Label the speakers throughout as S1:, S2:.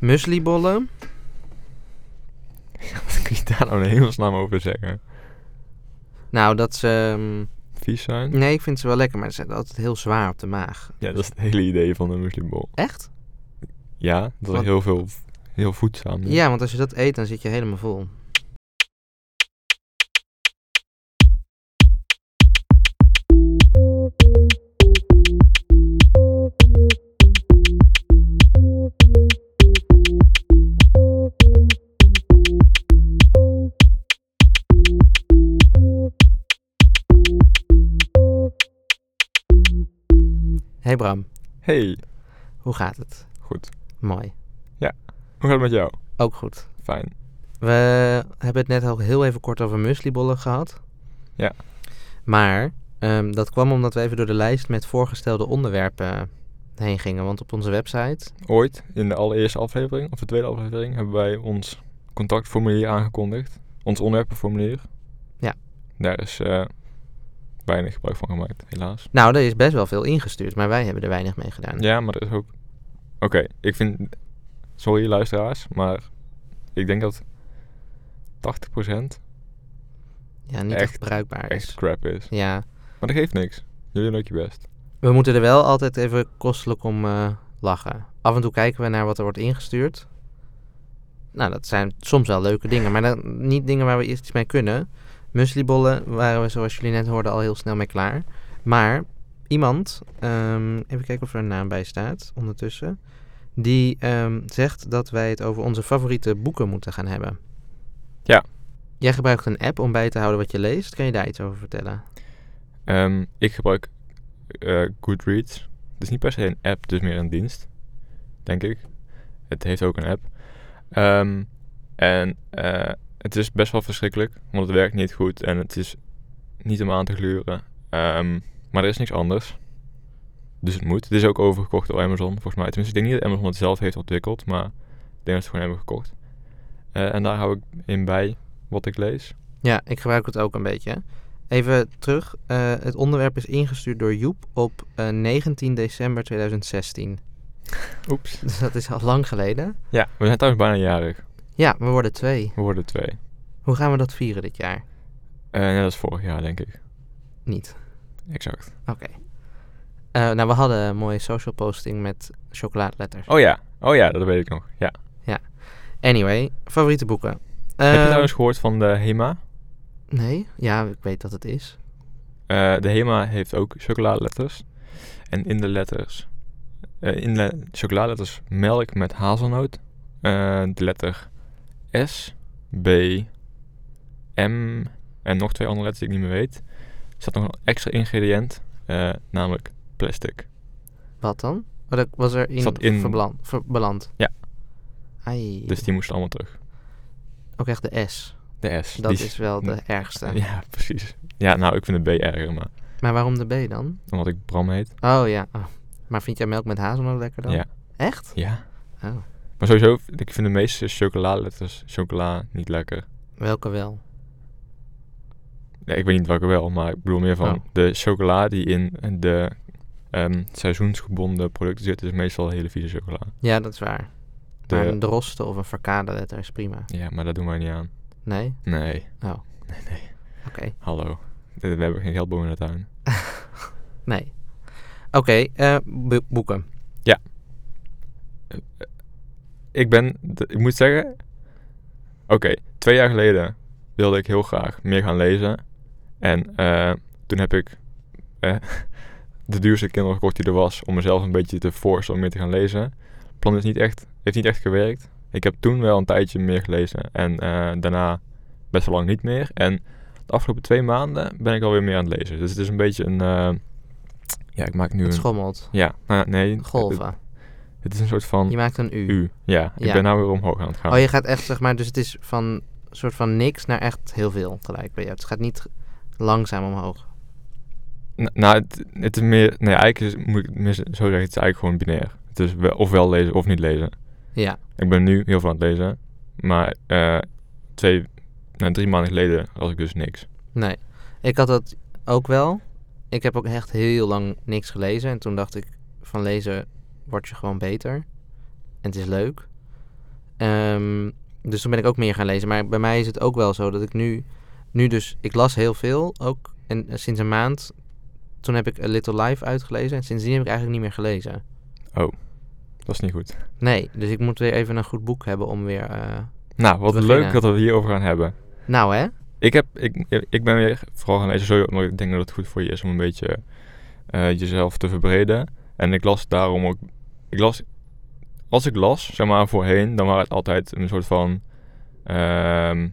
S1: Muslibollen.
S2: Wat kun je daar nou in hemelsnaam over zeggen?
S1: Nou, dat ze... ehm,
S2: Vies zijn?
S1: nee, ik vind ze wel lekker, maar ze zijn altijd heel zwaar op de maag.
S2: Ja, dat is het hele idee van een muslimbol.
S1: Echt?
S2: Ja, dat
S1: Wat?
S2: is heel veel, heel voedzaam.
S1: Ja, want als je dat eet, dan zit je helemaal vol. Hey Bram,
S2: Hey,
S1: hoe gaat het?
S2: goed.
S1: Mooi.
S2: Hoe gaat het met jou?
S1: Ook goed.
S2: Fijn.
S1: We hebben het net al heel even kort over mueslibollen gehad.
S2: Ja.
S1: Maar ehm, dat kwam omdat we even door de lijst met voorgestelde onderwerpen heen gingen. Want op onze website,
S2: Ooit, in de allereerste aflevering, of de tweede aflevering, hebben wij ons contactformulier aangekondigd. Ons onderwerpenformulier.
S1: Ja.
S2: Daar is eh, weinig gebruik van gemaakt, helaas.
S1: nou, er is best wel veel ingestuurd, maar wij hebben er weinig mee gedaan.
S2: Ja, maar er is ook... Oké, ik vind... Sorry luisteraars, maar ik denk dat 80%
S1: Ja, niet echt,
S2: Echt,
S1: bruikbaar is.
S2: echt crap is.
S1: Ja,
S2: Maar dat geeft niks. Jullie doen ook je best.
S1: we moeten er wel altijd even kostelijk om eh, lachen. Af en toe kijken we naar wat er wordt ingestuurd. Nou, dat zijn soms wel leuke dingen, maar dan, niet dingen waar we eerst iets mee kunnen. Muslibollen waren we, zoals jullie net hoorden, al heel snel mee klaar. Maar iemand, ehm, even kijken of er een naam bij staat ondertussen, die ehm, zegt dat wij het over onze favoriete boeken moeten gaan hebben.
S2: Ja.
S1: Jij gebruikt een app om bij te houden wat je leest. Kan je daar iets over vertellen?
S2: Ehm, ik gebruik eh, Goodreads. Het is niet per se een app, dus meer een dienst. Denk ik. Het heeft ook een app. Ehm, en eh, het is best wel verschrikkelijk, want het werkt niet goed en het is niet om aan te gluren. Ehm, maar er is niks anders. Dus het moet. Het is ook overgekocht door Amazon, volgens mij. Tenminste, ik denk niet dat Amazon het zelf heeft ontwikkeld, maar ik denk dat ze het gewoon hebben gekocht. Eh, en daar hou ik in bij wat ik lees.
S1: Ja, ik gebruik het ook een beetje. Even terug. eh, het onderwerp is ingestuurd door Joep op eh, 19 december 2016.
S2: Oeps.
S1: Dus dat is al lang geleden.
S2: Ja, we zijn trouwens bijna jarig.
S1: Ja, we worden twee.
S2: We worden twee.
S1: Hoe gaan we dat vieren dit jaar?
S2: Eh net als vorig jaar, denk ik.
S1: Niet.
S2: Exact.
S1: Oké. Eh, nou, we hadden een mooie social posting met chocolaatletters.
S2: Oh ja, oh ja, dat weet ik nog. Ja.
S1: Anyway, favoriete boeken.
S2: Heb je
S1: Ehm,
S2: trouwens gehoord van de HEMA?
S1: Nee? Ja, ik weet dat het is.
S2: Eh, de HEMA heeft ook chocoladeletters. En in de letters... eh, in de chocoladeletters melk met hazelnoot. eh, de letter S, B, M en nog twee andere letters die ik niet meer weet. Er staat nog een extra ingrediënt, eh, namelijk plastic.
S1: Wat dan? Oh, dat was er in,
S2: Zat in-
S1: verblan- ver- beland.
S2: Ja.
S1: Ai.
S2: Dus die moest allemaal terug.
S1: Ook echt de S.
S2: De S.
S1: Dat
S2: die
S1: is wel de ergste.
S2: Ja, precies. Ja, nou, ik vind de B erger, maar
S1: Maar waarom de B dan?
S2: omdat ik Bram heet...
S1: Oh ja. Oh. Maar vind jij melk met hazelnoot lekker dan?
S2: Ja.
S1: Echt?
S2: Ja.
S1: Oh.
S2: Maar sowieso, ik vind de meeste chocoladeletters chocola niet lekker.
S1: Welke wel?
S2: Ja, ik weet niet welke wel, maar ik bedoel meer van
S1: Oh.
S2: de chocola die in de ehm, seizoensgebonden producten zit, is meestal hele vieze chocola.
S1: Ja, dat is waar.
S2: De-
S1: Maar een droste of een verkade letter is prima.
S2: Ja, maar dat doen wij niet aan.
S1: Nee?
S2: Nee,
S1: Oh. Oké.
S2: hallo. We hebben geen geldboom in de tuin.
S1: Nee. Oké, eh, bo- boeken.
S2: Ik ben, de- ik moet zeggen, oké, twee jaar geleden wilde ik heel graag meer gaan lezen. En eh, toen heb ik eh, de duurste kinderen gekocht die er was om mezelf een beetje te forcen om meer te gaan lezen. Het plan is niet echt, heeft niet echt gewerkt. Ik heb toen wel een tijdje meer gelezen en eh, daarna best wel lang niet meer. En de afgelopen twee maanden ben ik alweer meer aan het lezen. Dus het is een beetje een, eh, ja, ik maak nu
S1: Het
S2: een...
S1: schommelt.
S2: Ja, nou, nee. Het,
S1: Golven.
S2: het is een soort van...
S1: Je maakt een U.
S2: U. Ja, ik
S1: Ja.
S2: ben nou weer omhoog aan het gaan.
S1: Oh, je gaat echt, zeg maar, dus het is van soort van niks naar echt heel veel gelijk bij jou. Het gaat niet langzaam omhoog.
S2: N- nou, het, het is meer... Nee, eigenlijk is, moet ik het meer zo zeggen, het is eigenlijk gewoon binair. Het is wel, ofwel lezen of niet lezen.
S1: Ja.
S2: Ik ben nu heel veel aan het lezen. Maar eh, twee, nou, drie maanden geleden had ik dus niks.
S1: Nee. Ik had dat ook wel. Ik heb ook echt heel lang niks gelezen. En toen dacht ik, van lezen word je gewoon beter. En het is leuk. Ehm, dus toen ben ik ook meer gaan lezen. Maar bij mij is het ook wel zo dat ik nu, nu dus, ik las heel veel ook. En eh, sinds een maand, toen heb ik A Little Life uitgelezen. En sindsdien heb ik eigenlijk niet meer gelezen.
S2: Dat is niet goed.
S1: Nee, dus ik moet weer even een goed boek hebben om weer... eh,
S2: Nou, wat
S1: Beginnen.
S2: leuk dat we het hierover gaan hebben.
S1: Nou hè?
S2: Ik, heb, ik, ik ben weer vooral gaan lezen, sowieso omdat ik denk dat het goed voor je is om een beetje eh, jezelf te verbreden. En ik las daarom ook, ik las, als ik las, zeg maar voorheen, dan waren het altijd een soort van, ehm,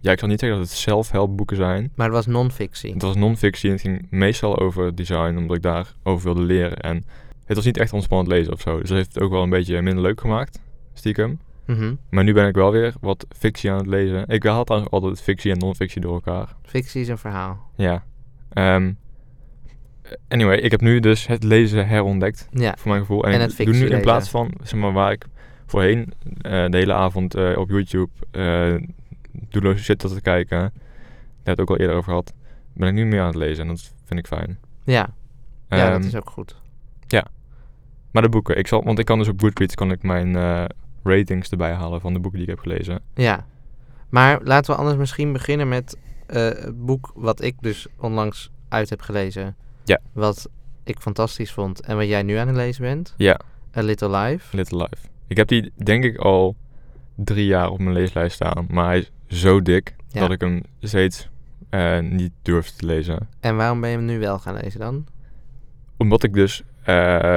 S2: ja ik zal niet zeggen dat het zelfhelpboeken zijn.
S1: Maar het was non-fictie.
S2: Het was non-fictie en het ging meestal over design, omdat ik daarover wilde leren. En het was niet echt ontspannend lezen of zo, dus dat heeft het ook wel een beetje minder leuk gemaakt, stiekem.
S1: Mhm.
S2: Maar nu ben ik wel weer wat fictie aan het lezen. Ik haal trouwens altijd fictie en non-fictie door elkaar.
S1: Fictie is een verhaal.
S2: Ja. Ehm, anyway, ik heb nu dus het lezen herontdekt,
S1: Ja.
S2: voor mijn gevoel. En,
S1: En
S2: ik
S1: het
S2: doe nu
S1: fictielezen.
S2: in plaats van, zeg maar, waar ik voorheen eh, de hele avond eh, op YouTube eh doelloze shit zat te kijken, daar heb ik het ook al eerder over gehad, ben ik nu meer aan het lezen en dat vind ik fijn.
S1: Ja. ja,
S2: Ehm,
S1: dat is ook goed.
S2: Maar de boeken, ik zal, want ik kan dus op Goodreads kan ik mijn eh, ratings erbij halen van de boeken die ik heb gelezen.
S1: Ja. Maar laten we anders misschien beginnen met eh, het boek wat ik dus onlangs uit heb gelezen.
S2: Ja.
S1: Wat ik fantastisch vond en wat jij nu aan het lezen bent.
S2: Ja.
S1: A Little Life.
S2: Little Life. Ik heb die denk ik al drie jaar op mijn leeslijst staan. Maar hij is zo dik
S1: Ja.
S2: dat ik hem steeds eh, niet durf te lezen.
S1: En waarom ben je hem nu wel gaan lezen dan?
S2: Omdat ik dus eh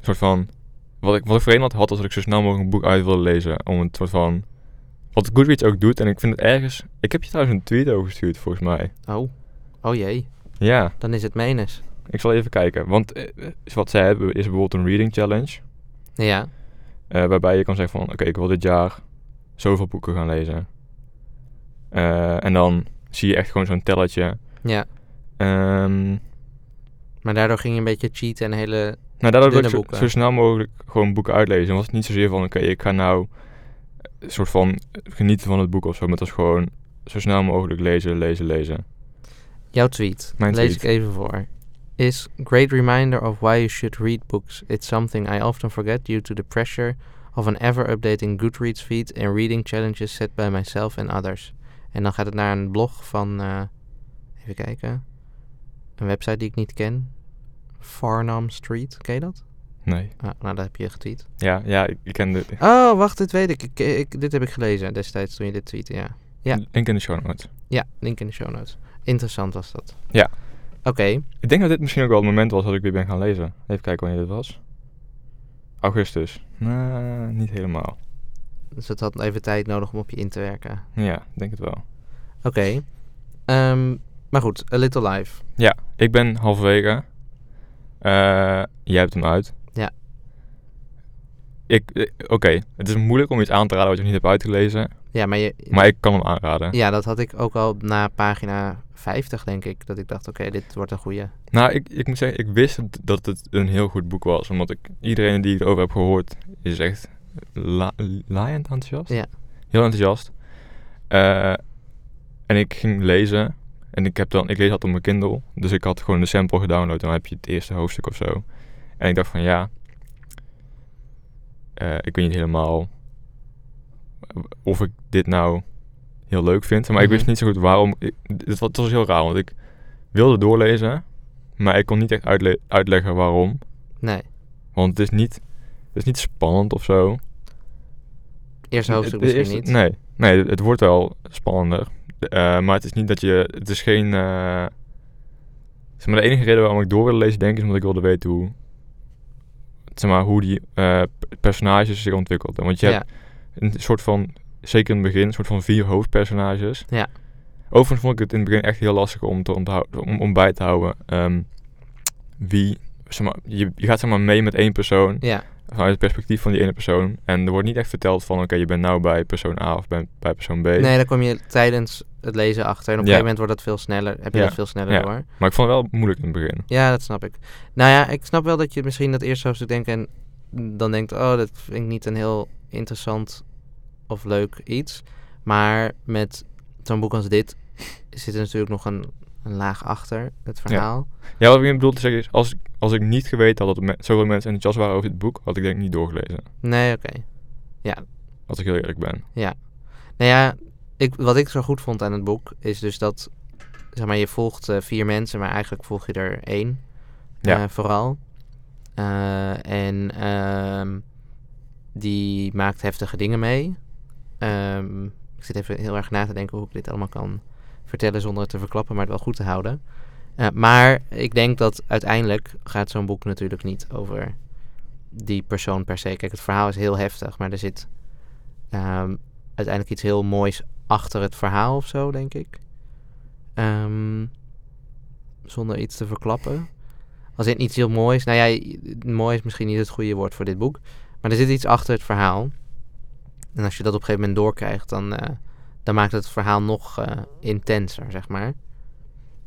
S2: soort van... Wat ik, wat ik voorheen had, had als ik zo snel mogelijk een boek uit wilde lezen. Om het soort van... Wat Goodreads ook doet. En ik vind het ergens... Ik heb je trouwens een tweet over gestuurd volgens mij.
S1: Oh. Oh jee.
S2: Ja,
S1: Dan is het menens.
S2: ik zal even kijken. Want eh, eh, wat zij hebben is bijvoorbeeld een reading challenge.
S1: Ja.
S2: Eh, waarbij je kan zeggen van, oké, ik wil dit jaar zoveel boeken gaan lezen. Eh, en dan zie je echt gewoon zo'n telletje.
S1: Ja.
S2: Ehm,
S1: Maar daardoor ging je een beetje cheaten en hele...
S2: nou, daardoor wil ik
S1: Dunne
S2: zo,
S1: boeken.
S2: zo snel mogelijk gewoon boeken uitlezen. Dan was het niet zozeer van, oké, ik ga nou een soort van genieten van het boek of zo. Maar het was gewoon zo snel mogelijk lezen, lezen, lezen.
S1: Jouw tweet.
S2: Mijn
S1: lees
S2: tweet.
S1: ik even voor. Is great reminder of why you should read books. It's something I often forget due to the pressure of an ever updating Goodreads feed and reading challenges set by myself and others. En dan gaat het naar een blog van eh, even kijken. Een website die ik niet ken. Farnham Street, ken je dat?
S2: Nee.
S1: Ah, nou, dat heb je getweet.
S2: Ja, ja ik, ik ken de
S1: Oh, wacht, dit weet ik. Ik- ik. Dit heb ik gelezen destijds toen je dit tweette, ja. Ja.
S2: link in de show notes.
S1: Ja, link in de show notes. Interessant was dat.
S2: Ja.
S1: Oké,
S2: Ik denk dat dit misschien ook wel het moment was dat ik weer ben gaan lezen. Even kijken wanneer dit was. Augustus. Nou, niet helemaal.
S1: dus het had even tijd nodig om op je in te werken.
S2: Ja, ik denk het wel.
S1: Oké. Ehm, maar goed, A Little Life.
S2: Ja, ik ben halverwege. Eh, jij hebt hem uit.
S1: Ja.
S2: Ik, eh, Oké, het is moeilijk om iets aan te raden wat je nog niet hebt uitgelezen.
S1: Ja, maar je...
S2: Maar ik kan hem aanraden.
S1: Ja, dat had ik ook al na pagina 50, denk ik. Dat ik dacht, oké, dit wordt een goeie.
S2: Nou, ik, ik moet zeggen, ik wist het- dat het een heel goed boek was. Omdat ik, iedereen die ik erover heb gehoord, is echt la- laaiend enthousiast.
S1: Ja.
S2: Heel enthousiast. Eh, en ik ging lezen. En ik, heb dan, ik lees altijd op mijn Kindle. Dus ik had gewoon de sample gedownload. En dan heb je het eerste hoofdstuk of zo. En ik dacht van, ja... eh, ik weet niet helemaal of ik dit nou heel leuk vind. Maar ik
S1: Mhm.
S2: wist niet zo goed waarom... ik- het, was, het was heel raar, want ik wilde doorlezen. Maar ik kon niet echt uitle- uitleggen waarom.
S1: Nee,
S2: Want het is niet, het is niet spannend of zo.
S1: eerste hoofdstuk
S2: Het- het
S1: misschien
S2: eerste-
S1: niet.
S2: Nee, nee, het- het wordt wel spannender. Eh, maar het is niet dat je... Het is geen... eh, zeg maar, de enige reden waarom ik door wilde lezen, denk ik, is omdat ik wilde weten hoe... Zeg maar, hoe die eh, p- personages zich ontwikkelden. Want je
S1: ja.
S2: hebt een soort van... Zeker in het begin, een soort van vier hoofdpersonages.
S1: Ja.
S2: Overigens vond ik het in het begin echt heel lastig om, te onthouden, om, om bij te houden. ehm, wie... Zeg maar, je, je gaat zeg maar mee met één persoon
S1: ja,
S2: vanuit het perspectief van die ene persoon. En er wordt niet echt verteld van, oké, je bent nou bij persoon A of bij, bij persoon B.
S1: nee, daar kom je tijdens het lezen achter. En op een gegeven
S2: Ja.
S1: moment wordt dat veel sneller. Heb je
S2: Ja.
S1: dat veel sneller
S2: Ja.
S1: door.
S2: Maar ik vond het wel moeilijk in het begin.
S1: Ja, dat snap ik. Nou ja, ik snap wel dat je misschien dat eerste hoofdstuk denkt en dan denkt, oh, dat vind ik niet een heel interessant of leuk iets. Maar met zo'n boek als dit zit er natuurlijk nog een, een laag achter, het verhaal.
S2: Ja, wat ik bedoel te zeggen is, als, ik- als ik niet geweten had dat me- zoveel mensen enthousiast waren over dit boek, had ik denk ik niet doorgelezen.
S1: Nee, oké. Ja.
S2: Als ik heel eerlijk ben.
S1: Nou ja, ik, wat ik zo goed vond aan het boek is dus dat zeg maar, je volgt eh, vier mensen, maar eigenlijk volg je er één.
S2: Ja.
S1: eh, vooral. Eh, en ehm, die maakt heftige dingen mee. Ehm, ik zit even heel erg na te denken hoe ik dit allemaal kan vertellen zonder het te verklappen, maar het wel goed te houden. Eh, maar ik denk dat uiteindelijk gaat zo'n boek natuurlijk niet over die persoon per se. Kijk, het verhaal is heel heftig, maar er zit ehm, uiteindelijk iets heel moois achter het verhaal of zo, denk ik. Ehm, zonder iets te verklappen. Als in iets heel moois. Nou ja, mooi is misschien niet het goede woord voor dit boek. Maar er zit iets achter het verhaal. En als je dat op een gegeven moment doorkrijgt, dan, eh, dan maakt het verhaal nog eh, intenser, zeg maar.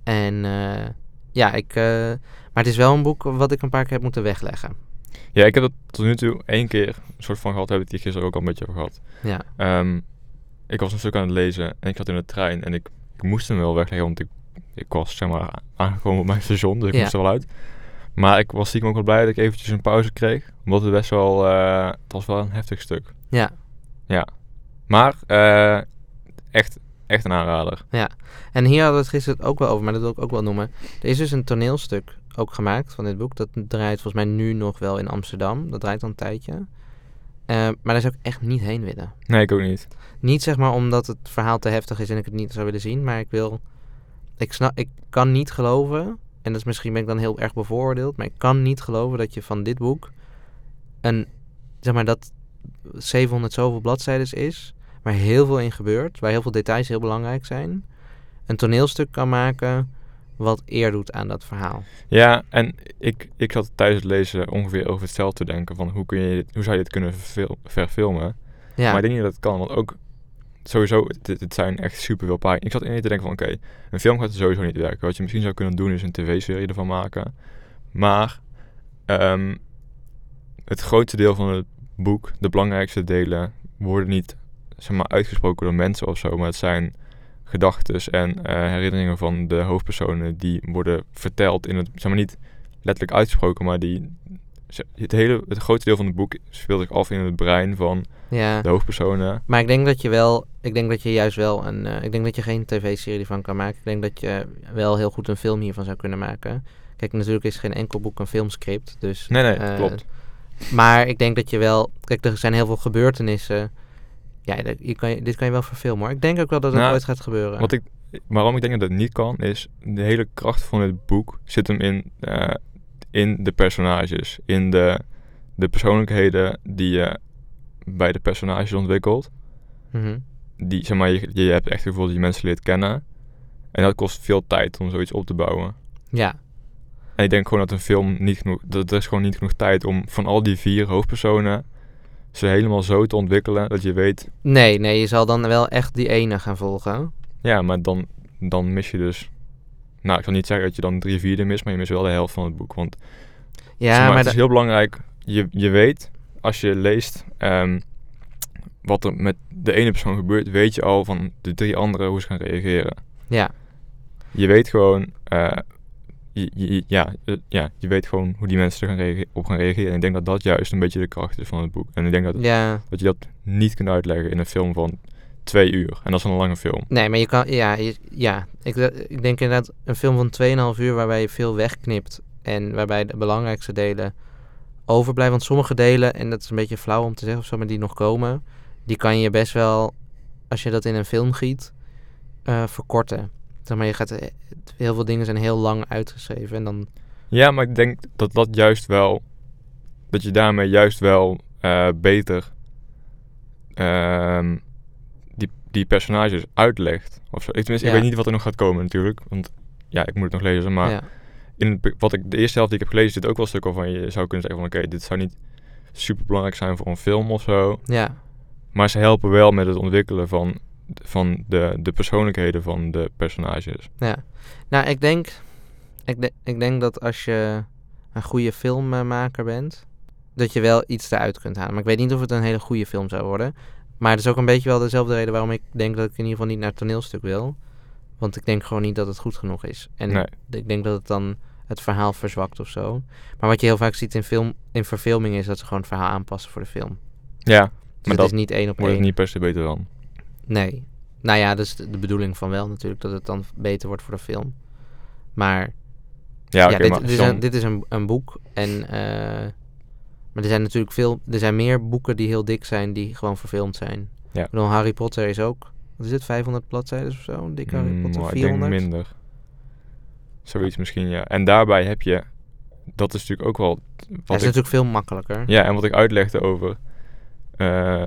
S1: En eh, ja, ik. eh, maar het is wel een boek wat ik een paar keer heb moeten wegleggen.
S2: Ja, ik heb dat tot nu toe één keer een soort van gehad. Heb ik het hier gisteren ook al een beetje over gehad.
S1: Ja.
S2: Ehm, ik was een stuk aan het lezen en ik zat in de trein en ik, ik moest hem wel wegleggen, want ik, ik was zeg maar aangekomen op mijn station, dus ik
S1: Ja.
S2: moest er wel uit. Maar ik was stiekem ook wel blij dat ik eventjes een pauze kreeg, omdat het best wel, eh, het was wel een heftig stuk.
S1: Ja.
S2: Ja. Maar eh, echt, echt een aanrader.
S1: En hier hadden we het gisteren ook wel over, maar dat wil ik ook wel noemen. Er is dus een toneelstuk ook gemaakt van dit boek. Dat draait volgens mij nu nog wel in Amsterdam. Dat draait al een tijdje. Eh, maar daar zou ik echt niet heen willen.
S2: Nee, ik ook niet.
S1: Niet zeg maar omdat het verhaal te heftig is en ik het niet zou willen zien. Maar ik wil... Ik, snap, ik kan niet geloven... En dat is, misschien ben ik dan heel erg bevooroordeeld... Maar ik kan niet geloven dat je van dit boek... Een... Zeg maar dat 700 zoveel bladzijden is... Waar heel veel in gebeurt. Waar heel veel details heel belangrijk zijn. Een toneelstuk kan maken... Wat eer doet aan dat verhaal.
S2: Ja, en ik, ik zat tijdens het lezen ongeveer over hetzelfde te denken, van hoe, kun je dit- hoe zou je dit kunnen verfil- verfilmen?
S1: Ja,
S2: Maar ik denk niet dat het kan, want ook sowieso, dit, dit zijn echt super veel pagina's. Ik zat ineens te denken van, oké, een film gaat sowieso niet werken. Wat je misschien zou kunnen doen is een tv-serie ervan maken. Maar ehm, het grootste deel van het boek, de belangrijkste delen, worden niet zeg maar, uitgesproken door mensen of zo. Maar het zijn gedachten en eh, herinneringen van de hoofdpersonen die worden verteld in het, zeg maar niet letterlijk uitgesproken, maar die... ze- Het, hele, het grootste deel van het boek speelt zich af in het brein van
S1: ja.
S2: de hoofdpersonen.
S1: Maar ik denk dat je wel, ik denk dat je juist wel een, eh, ik denk dat je geen tv-serie van kan maken. Ik denk dat je wel heel goed een film hiervan zou kunnen maken. Kijk, natuurlijk is geen enkel boek een filmscript, dus.
S2: Nee, nee,
S1: eh,
S2: klopt.
S1: Maar ik denk dat je wel, kijk, er zijn heel veel gebeurtenissen. Ja, dat- je kan, dit kan je wel verfilmen hoor. Ik denk ook wel dat het
S2: Nou,
S1: ooit gaat gebeuren.
S2: Wat ik, waarom ik denk dat het niet kan, is de hele kracht van het boek zit hem in, eh, in de personages. In de, de persoonlijkheden die je bij de personages ontwikkelt.
S1: Mhm.
S2: Die, zeg maar, je, je hebt echt het gevoel dat je mensen leert kennen. En dat kost veel tijd om zoiets op te bouwen.
S1: Ja,
S2: En ik denk gewoon dat een film niet genoeg... Dat er is gewoon niet genoeg tijd om van al die vier hoofdpersonen... ze helemaal zo te ontwikkelen dat je weet...
S1: nee, nee, je zal dan wel echt die ene gaan volgen.
S2: Ja, maar dan, dan mis je dus. Nou, ik zal niet zeggen dat je dan drie vierde mist, maar je mist wel de helft van het boek. Want
S1: Ja,
S2: zeg maar,
S1: maar,
S2: het
S1: da-
S2: is heel belangrijk. Je, je weet, als je leest ehm, wat er met de ene persoon gebeurt, weet je al van de drie anderen hoe ze gaan reageren.
S1: ja,
S2: Je weet gewoon, eh, je, je- ja, eh, ja, je weet gewoon hoe die mensen er gaan reage- op gaan reageren. En ik denk dat dat juist een beetje de kracht is van het boek. En ik denk dat,
S1: ja.
S2: dat je dat niet kunt uitleggen in een film van twee uur. En dat is een lange film.
S1: Nee, maar je kan, ja, je- ja. Ik, eh, ik denk inderdaad een film van 2,5 uur waarbij je veel wegknipt en waarbij de belangrijkste delen overblijven. Want sommige delen, en dat is een beetje flauw om te zeggen of zo, maar die nog komen, die kan je best wel, als je dat in een film giet, eh, verkorten. Zeg maar, je gaat, eh, heel veel dingen zijn heel lang uitgeschreven en dan,
S2: Ja, maar ik denk dat dat juist wel. Dat je daarmee juist wel eh, beter. ehm, die, die personages uitlegt. Of zo. Ik, tenminste,
S1: Ja.
S2: ik weet niet wat er nog gaat komen, natuurlijk. Want ja, ik moet het nog lezen. Maar
S1: ja.
S2: in het be- wat ik, de eerste helft die ik heb gelezen, zit ook wel stukken van je zou kunnen zeggen: van oké, dit zou niet super belangrijk zijn voor een film of zo.
S1: ja.
S2: Maar ze helpen wel met het ontwikkelen van, van de, de persoonlijkheden van de personages.
S1: Ja. Nou, ik denk, ik, de- ik denk dat als je een goede filmmaker bent, dat je wel iets eruit kunt halen. Maar ik weet niet of het een hele goede film zou worden. Maar het is ook een beetje wel dezelfde reden waarom ik denk dat ik in ieder geval niet naar het toneelstuk wil. Want ik denk gewoon niet dat het goed genoeg is. En
S2: Nee.
S1: ik denk dat het dan het verhaal verzwakt of zo. Maar wat je heel vaak ziet in, film, in verfilming is dat ze gewoon het verhaal aanpassen voor de film.
S2: Ja,
S1: Dus het
S2: dat
S1: is niet één op één.
S2: Wordt het niet per se beter dan.
S1: Nee. Nou ja, dat is de de bedoeling van wel natuurlijk, dat het dan beter wordt voor de film. Maar
S2: Ja, oké,
S1: ja, dit,
S2: maar
S1: dit
S2: als
S1: is
S2: je dan-
S1: een, dit is een, een boek. En, eh, maar er zijn natuurlijk veel, er zijn meer boeken die heel dik zijn, die gewoon verfilmd zijn.
S2: Ja.
S1: Ik bedoel, Harry Potter is ook, wat is dit, 500 bladzijden of zo? Een dikke Harry
S2: Mm,
S1: Potter,
S2: ik denk
S1: 400?
S2: minder. Zoiets misschien, ja. En daarbij heb je... Dat is natuurlijk ook wel...
S1: Dat
S2: Wat
S1: is
S2: ik,
S1: natuurlijk veel makkelijker.
S2: ja, en wat ik uitlegde over... eh,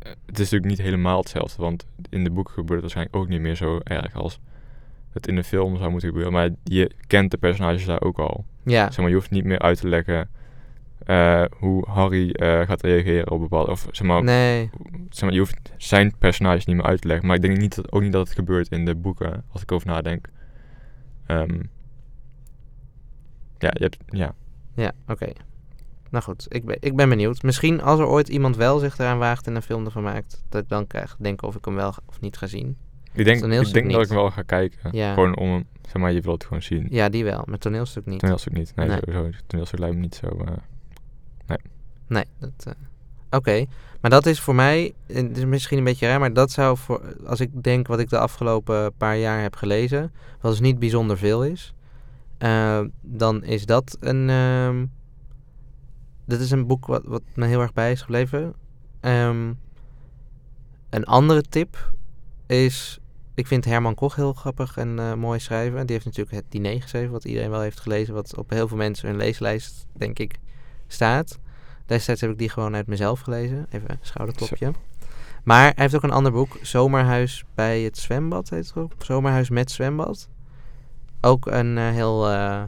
S2: het is natuurlijk niet helemaal hetzelfde. Want in de boeken gebeurt het waarschijnlijk ook niet meer zo erg als... Het in de film zou moeten gebeuren. Maar je kent de personages daar ook al.
S1: Ja,
S2: Zeg maar, je hoeft niet meer uit te leggen... eh, hoe Harry eh, gaat reageren op bepaalde... Of zeg maar,
S1: nee.
S2: zeg maar, je hoeft zijn personage niet meer uit te leggen. Maar ik denk niet dat, ook niet dat het gebeurt in de boeken, als ik over nadenk. Ehm, ja, je hebt, ja,
S1: Ja, oké. Nou goed, ik ben, ik ben benieuwd. Misschien als er ooit iemand wel zich eraan waagt en een film ervan maakt, dat ik dan krijg denken of ik hem wel ga- of niet ga zien.
S2: ik denk,
S1: toneel
S2: ik
S1: stuk
S2: denk dat ik
S1: niet.
S2: hem wel ga kijken.
S1: Ja.
S2: Gewoon om, hem- zeg maar, je wilt het gewoon zien.
S1: Ja, die wel, maar toneelstuk niet.
S2: Toneelstuk niet. Nee,
S1: Nee. Nou,
S2: sowieso. Toneelstuk lijkt me niet zo. eh,
S1: Nee, dat. eh, Oké, maar dat is voor mij, en het is misschien een beetje raar, maar dat zou voor, als ik denk wat ik de afgelopen paar jaar heb gelezen, wat dus niet bijzonder veel is, eh, dan is dat een, ehm, dat is een boek wat, wat me heel erg bij is gebleven. Ehm, een andere tip is, ik vind Herman Koch heel grappig en eh, mooi schrijven. Die heeft natuurlijk het diner geschreven, wat iedereen wel heeft gelezen, wat op heel veel mensen hun leeslijst, denk ik, staat. Destijds heb ik die gewoon uit mezelf gelezen. Even een schouderklopje. Maar hij heeft ook een ander boek. Zomerhuis bij het zwembad heet het ook. Zomerhuis met zwembad. Ook een eh, heel eh,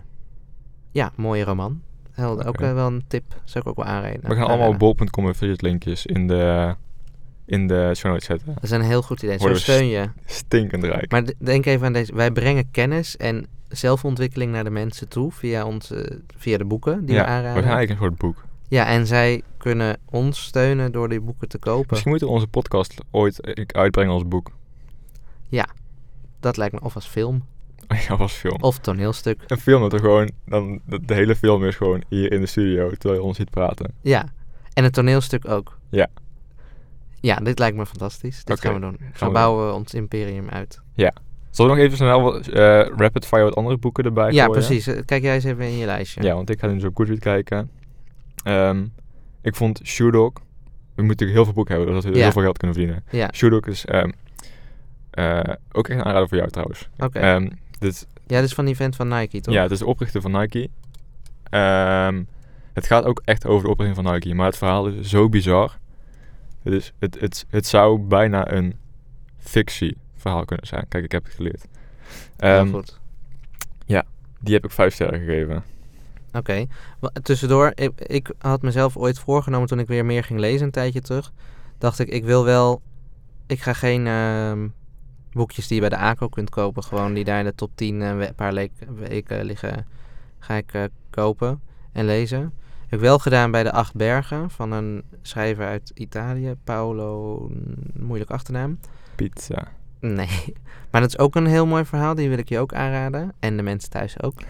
S1: ja, mooie roman. Heel, Ook
S2: Oké.
S1: eh, wel een tip. Zou ik ook wel aanreden.
S2: we gaan allemaal
S1: aanraden. Eh,
S2: op bol.com en Fidget linkjes in de, in de show notes zetten.
S1: Dat is een heel goed idee. Zo
S2: Worden we
S1: steun je.
S2: Stinkend rijk.
S1: Maar d- denk even aan deze. Wij brengen kennis en zelfontwikkeling naar de mensen toe via, onze, via de boeken die
S2: ja,
S1: we
S2: we
S1: aanraden.
S2: gaan eigenlijk een soort boek.
S1: Ja, en zij kunnen ons steunen door die boeken te kopen.
S2: Misschien moeten we onze podcast ooit eh, uitbrengen als boek.
S1: Dat lijkt me of als film
S2: ja, als film.
S1: of toneelstuk.
S2: Een film dat er gewoon, dan, dat de hele film is gewoon hier in de studio terwijl je ons ziet praten.
S1: Ja, en het toneelstuk ook.
S2: Ja.
S1: Ja, dit lijkt me fantastisch. Dit
S2: Oké,
S1: gaan we doen. Zo
S2: doen.
S1: bouwen we ons imperium uit.
S2: Zal ik nog even snel wat, eh, rapid fire wat andere boeken erbij
S1: ja,
S2: gooien?
S1: precies. Eh, Kijk jij eens even in je lijstje.
S2: Ja, want ik ga nu zo op Goodreads kijken. Ehm, ik vond Shoe Dog, we moeten natuurlijk heel veel boeken hebben, zodat we
S1: Ja.
S2: heel veel geld kunnen verdienen.
S1: Ja,
S2: Shoe Dog is ehm, eh, ook echt een aanrader voor jou trouwens.
S1: oké.
S2: Ehm, dit,
S1: ja, dit is van die vent van Nike, toch?
S2: ja, het is de oprichter van Nike. Ehm, het gaat ook echt over de oprichting van Nike, maar het verhaal is zo bizar. Het, is, het, het, het zou bijna een fictieverhaal kunnen zijn. Kijk, ik heb het geleerd.
S1: Heel
S2: Ehm,
S1: goed.
S2: die heb ik vijf sterren gegeven.
S1: Oké. Wa- Tussendoor, ik, ik had mezelf ooit voorgenomen toen ik weer meer ging lezen een tijdje terug. Dacht ik, ik wil wel... Ik ga geen ehm, boekjes die je bij de ACO kunt kopen. Gewoon die daar in de top 10 eh, we- paar leek- weken liggen, ga ik eh, kopen en lezen. Heb ik wel gedaan bij de Acht Bergen van een schrijver uit Italië. Paolo, moeilijk achternaam.
S2: Pizza.
S1: Nee. Maar dat is ook een heel mooi verhaal. Die wil ik je ook aanraden. En de mensen thuis ook.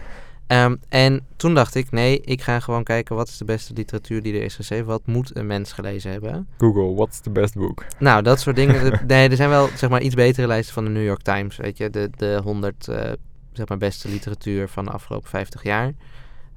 S1: Ehm, en toen dacht ik, nee, ik ga gewoon kijken wat is de beste literatuur die er is geschreven. Wat moet een mens gelezen hebben?
S2: Google, what's the best book?
S1: Nou, dat soort dingen. De- nee, er zijn wel zeg maar iets betere lijsten van de New York Times. Weet je, de, de 100 eh, zeg maar beste literatuur van de afgelopen 50 jaar.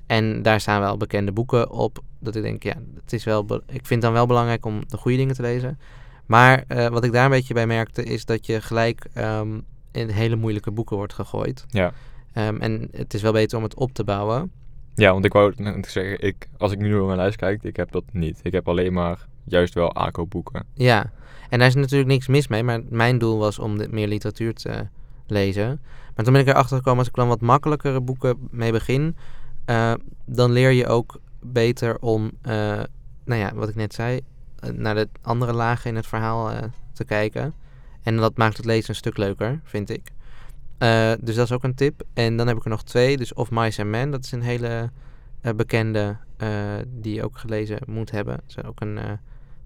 S1: En daar staan wel bekende boeken op. Dat ik denk, ja, het is wel be- ik vind dan wel belangrijk om de goede dingen te lezen. Maar eh, wat ik daar een beetje bij merkte, is dat je gelijk ehm, in hele moeilijke boeken wordt gegooid.
S2: Ja.
S1: Ehm, en het is wel beter om het op te bouwen.
S2: Ja, want ik wou het net zeggen, ik, als ik nu op mijn lijst kijk, ik heb dat niet. Ik heb alleen maar juist wel ACO boeken.
S1: Ja, en daar is natuurlijk niks mis mee, maar mijn doel was om dit meer literatuur te lezen. Maar toen ben ik erachter gekomen, als ik dan wat makkelijkere boeken mee begin, eh, dan leer je ook beter om, eh, nou ja, wat ik net zei, eh, naar de andere lagen in het verhaal eh, te kijken. En dat maakt het lezen een stuk leuker, vind ik. Eh, dus dat is ook een tip. En dan heb ik er nog twee. Dus Of Mice and Men, dat is een hele eh, bekende eh, die je ook gelezen moet hebben. Dat is ook een eh,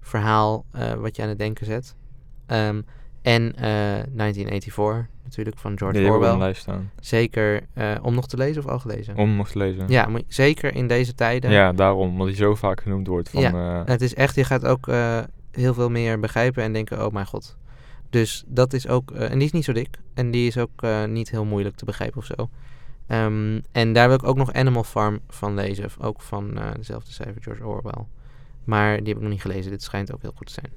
S1: verhaal eh, wat je aan het denken zet. Ehm, En eh, 1984 natuurlijk van
S2: Ja,
S1: George
S2: die heb ik op mijn
S1: Orwell.
S2: lijst staan.
S1: Zeker eh, om nog te lezen of al gelezen?
S2: Om nog te lezen.
S1: Ja, moet je- zeker in deze tijden.
S2: Ja, daarom. Omdat hij zo vaak genoemd wordt. Van, eh,
S1: Het is echt, je gaat ook eh, heel veel meer begrijpen en denken, oh mijn god. Dus dat is ook, eh, en die is niet zo dik. En die is ook eh, niet heel moeilijk te begrijpen of zo. Ehm, en daar wil ik ook nog Animal Farm van lezen. Ook van eh, dezelfde schrijver, George Orwell. Maar die heb ik nog niet gelezen. Dit schijnt ook heel goed te zijn.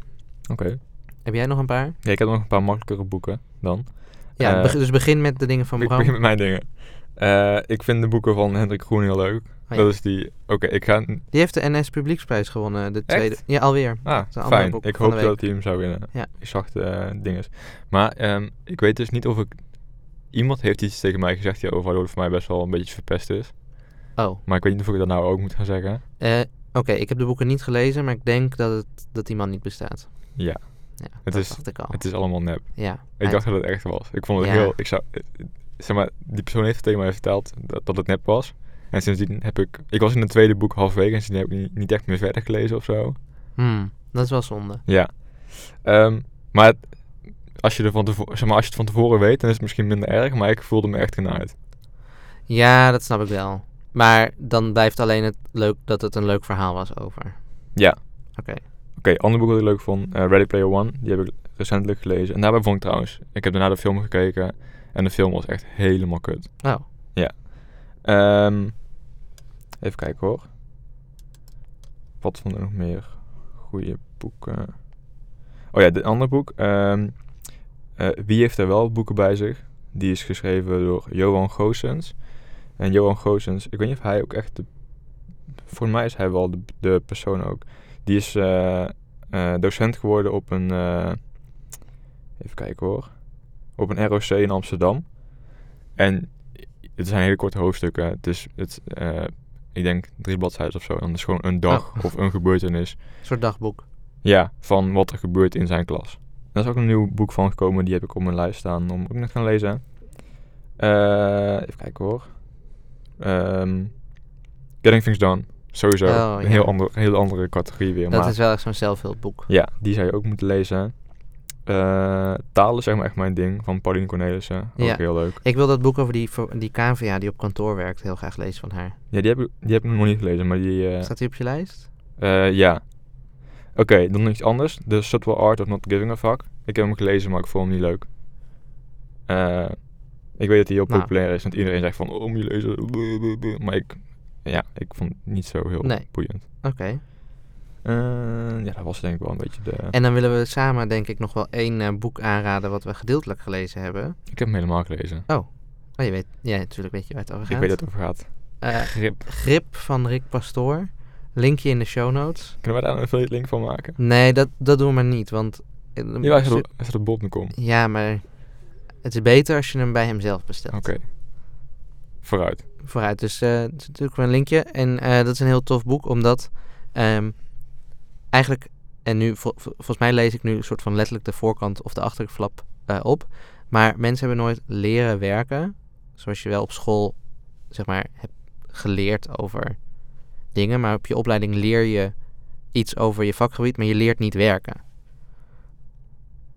S2: Oké.
S1: Heb jij nog een paar?
S2: Ja, ik heb nog een paar makkelijkere boeken dan.
S1: Ja,
S2: Eh,
S1: beg- dus begin met de dingen van
S2: ik
S1: Bram.
S2: begin met mijn dingen. Eh, ik vind de boeken van Hendrik Groen heel leuk.
S1: Oh, ja.
S2: Dat is die... Oké, ik ga...
S1: Die heeft de NS Publieksprijs gewonnen. De tweede. Ja, alweer.
S2: Ah,
S1: is een ander
S2: fijn.
S1: boek
S2: Ik
S1: van de
S2: hoop
S1: week.
S2: dat hij hem zou winnen.
S1: Ja.
S2: Ik zag de eh, dinges. Maar ehm, ik weet dus niet of ik... Iemand heeft iets tegen mij gezegd hierover, waardoor het voor mij best wel een beetje verpest is.
S1: Oh.
S2: Maar ik weet niet of ik dat nou ook moet gaan zeggen.
S1: Eh, Oké, ik heb de boeken niet gelezen, maar ik denk dat, het, dat die man niet bestaat.
S2: Ja.
S1: Ja,
S2: Het
S1: dat
S2: is-
S1: dacht ik al.
S2: Het is allemaal nep.
S1: ja,
S2: Ik
S1: hij-
S2: dacht dat het echt was. Ik vond het
S1: Ja.
S2: heel... Ik zou, zeg maar, die persoon heeft het tegen mij verteld dat, dat het nep was. En sindsdien heb ik... Ik was in het tweede boek halverwege en sindsdien heb ik niet, niet echt meer verder gelezen of zo.
S1: Hmm, dat is wel zonde.
S2: Ja. Ehm, maar het- als je, er van tevoren, zeg maar, als je het van tevoren weet, dan is het misschien minder erg. Maar ik voelde me echt genaaid.
S1: Ja, dat snap ik wel. Maar dan blijft alleen het leuk dat het een leuk verhaal was over.
S2: Ja.
S1: Oké.
S2: Oké, ander boek dat ik leuk vond. eh, Ready Player One. Die heb ik recentelijk gelezen. En daarbij vond ik trouwens... Ik heb daarna de film gekeken. En de film was echt helemaal kut.
S1: Oh,
S2: Ehm, even kijken hoor. Wat vond ik nog meer goede boeken? eh. Oh ja, dit andere boek. ehm, eh, Wie heeft er wel boeken bij zich? Die is geschreven door Johan Goossens. En Johan Goossens, ik weet niet of hij ook echt de... Voor mij is hij wel de, de persoon ook. Die is eh, eh, docent geworden op een... eh, even kijken hoor. Op een ROC in Amsterdam. En het zijn hele korte hoofdstukken. Het is, het, eh, ik denk, drie bladzijden of zo. En dat is gewoon een dag of een gebeurtenis.
S1: een soort dagboek.
S2: Ja, van wat er gebeurt in zijn klas. Er is ook een nieuw boek van gekomen. Die heb ik op mijn lijst staan om ook nog te gaan lezen. Eh, even kijken hoor. Ehm, Getting Things Done. Sowieso.
S1: Oh,
S2: een
S1: ja.
S2: heel ander, hele andere categorie weer.
S1: Dat
S2: maar
S1: is wel echt zo'n zelfhulpboek.
S2: ja, die zou je ook moeten lezen. Eh taal is zeg maar echt mijn ding. Van Pauline Cornelissen. Ook
S1: Ja.
S2: heel leuk.
S1: Ik wil dat boek over die, ver- die cavia die op kantoor werkt heel graag lezen van haar.
S2: Ja, die heb ik, die heb ik nog niet gelezen. Maar die, eh,
S1: Staat die op je lijst?
S2: Eh, ja. Oké, dan nog iets anders. The Subtle Art of Not Giving a Fuck. Ik heb hem gelezen, maar ik vond hem niet leuk. Eh, ik weet dat hij heel
S1: Nou.
S2: populair is. Want iedereen zegt van, oh, moet je lezen. bleh, bleh, bleh. Maar ik, ja, ik vond het niet zo heel
S1: Nee.
S2: boeiend.
S1: Oké.
S2: Eh, ja, dat was denk ik wel een beetje de...
S1: En dan willen we samen denk ik nog wel één eh, boek aanraden wat we gedeeltelijk gelezen hebben.
S2: Ik heb hem helemaal gelezen.
S1: Oh, je weet, ja, natuurlijk weet je waar het over gaat.
S2: Ik weet dat het over gaat.
S1: Eh,
S2: Grip.
S1: Grip van Rick Pastoor. Linkje in de show notes.
S2: Kunnen wij daar een affiliate link van maken?
S1: Nee, dat, dat doen we maar niet, want... eh,
S2: Ja, hij staat op- hij staat op bol.com.
S1: Ja, maar het is beter als je hem bij hemzelf bestelt.
S2: Oké. Vooruit.
S1: Vooruit, dus eh, het is natuurlijk wel een linkje. En eh, dat is een heel tof boek, omdat ehm, eigenlijk... En nu, vol- vol- volgens mij lees ik nu een soort van letterlijk de voorkant of de achterflap eh, op. Maar mensen hebben nooit leren werken, zoals je wel op school, zeg maar, hebt geleerd over dingen. Maar op je opleiding leer je iets over je vakgebied, maar je leert niet werken.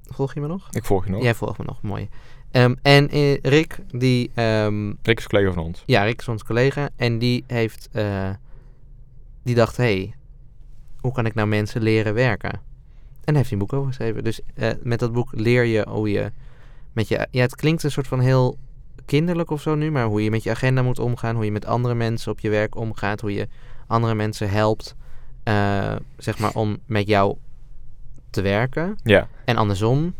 S1: Volg je me nog?
S2: Ik volg je nog.
S1: Jij volgt me nog, mooi. Ehm, en eh, Rick, die... ehm,
S2: Rick is een collega van ons.
S1: ja, Rick is ons collega. En die heeft... eh, die dacht, hé, hey, hoe kan ik nou mensen leren werken? En daar heeft hij een boek over geschreven. Dus eh, met dat boek leer je hoe je met je... Ja, het klinkt een soort van heel kinderlijk of zo nu, maar hoe je met je agenda moet omgaan, hoe je met andere mensen op je werk omgaat, hoe je andere mensen helpt, eh, zeg maar, om met jou te werken.
S2: Ja.
S1: En andersom.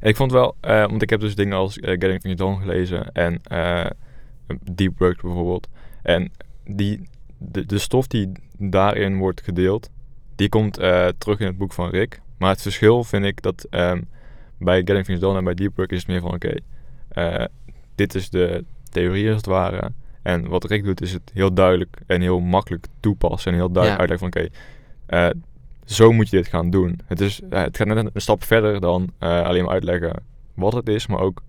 S2: Ik vond wel, eh, want ik heb dus dingen als eh, Getting Things Done gelezen en eh, Deep Work bijvoorbeeld. En die, de, de stof die daarin wordt gedeeld, die komt eh, terug in het boek van Rick. Maar het verschil vind ik dat ehm, bij Getting Things Done en bij Deep Work is het meer van oké, eh, dit is de theorie als het ware. En wat Rick doet is het heel duidelijk en heel makkelijk toepassen en heel duidelijk
S1: Ja.
S2: uitleggen van oké, eh, zo moet je dit gaan doen. Het, is, eh, het gaat net een, een stap verder dan eh, alleen maar uitleggen wat het is, maar ook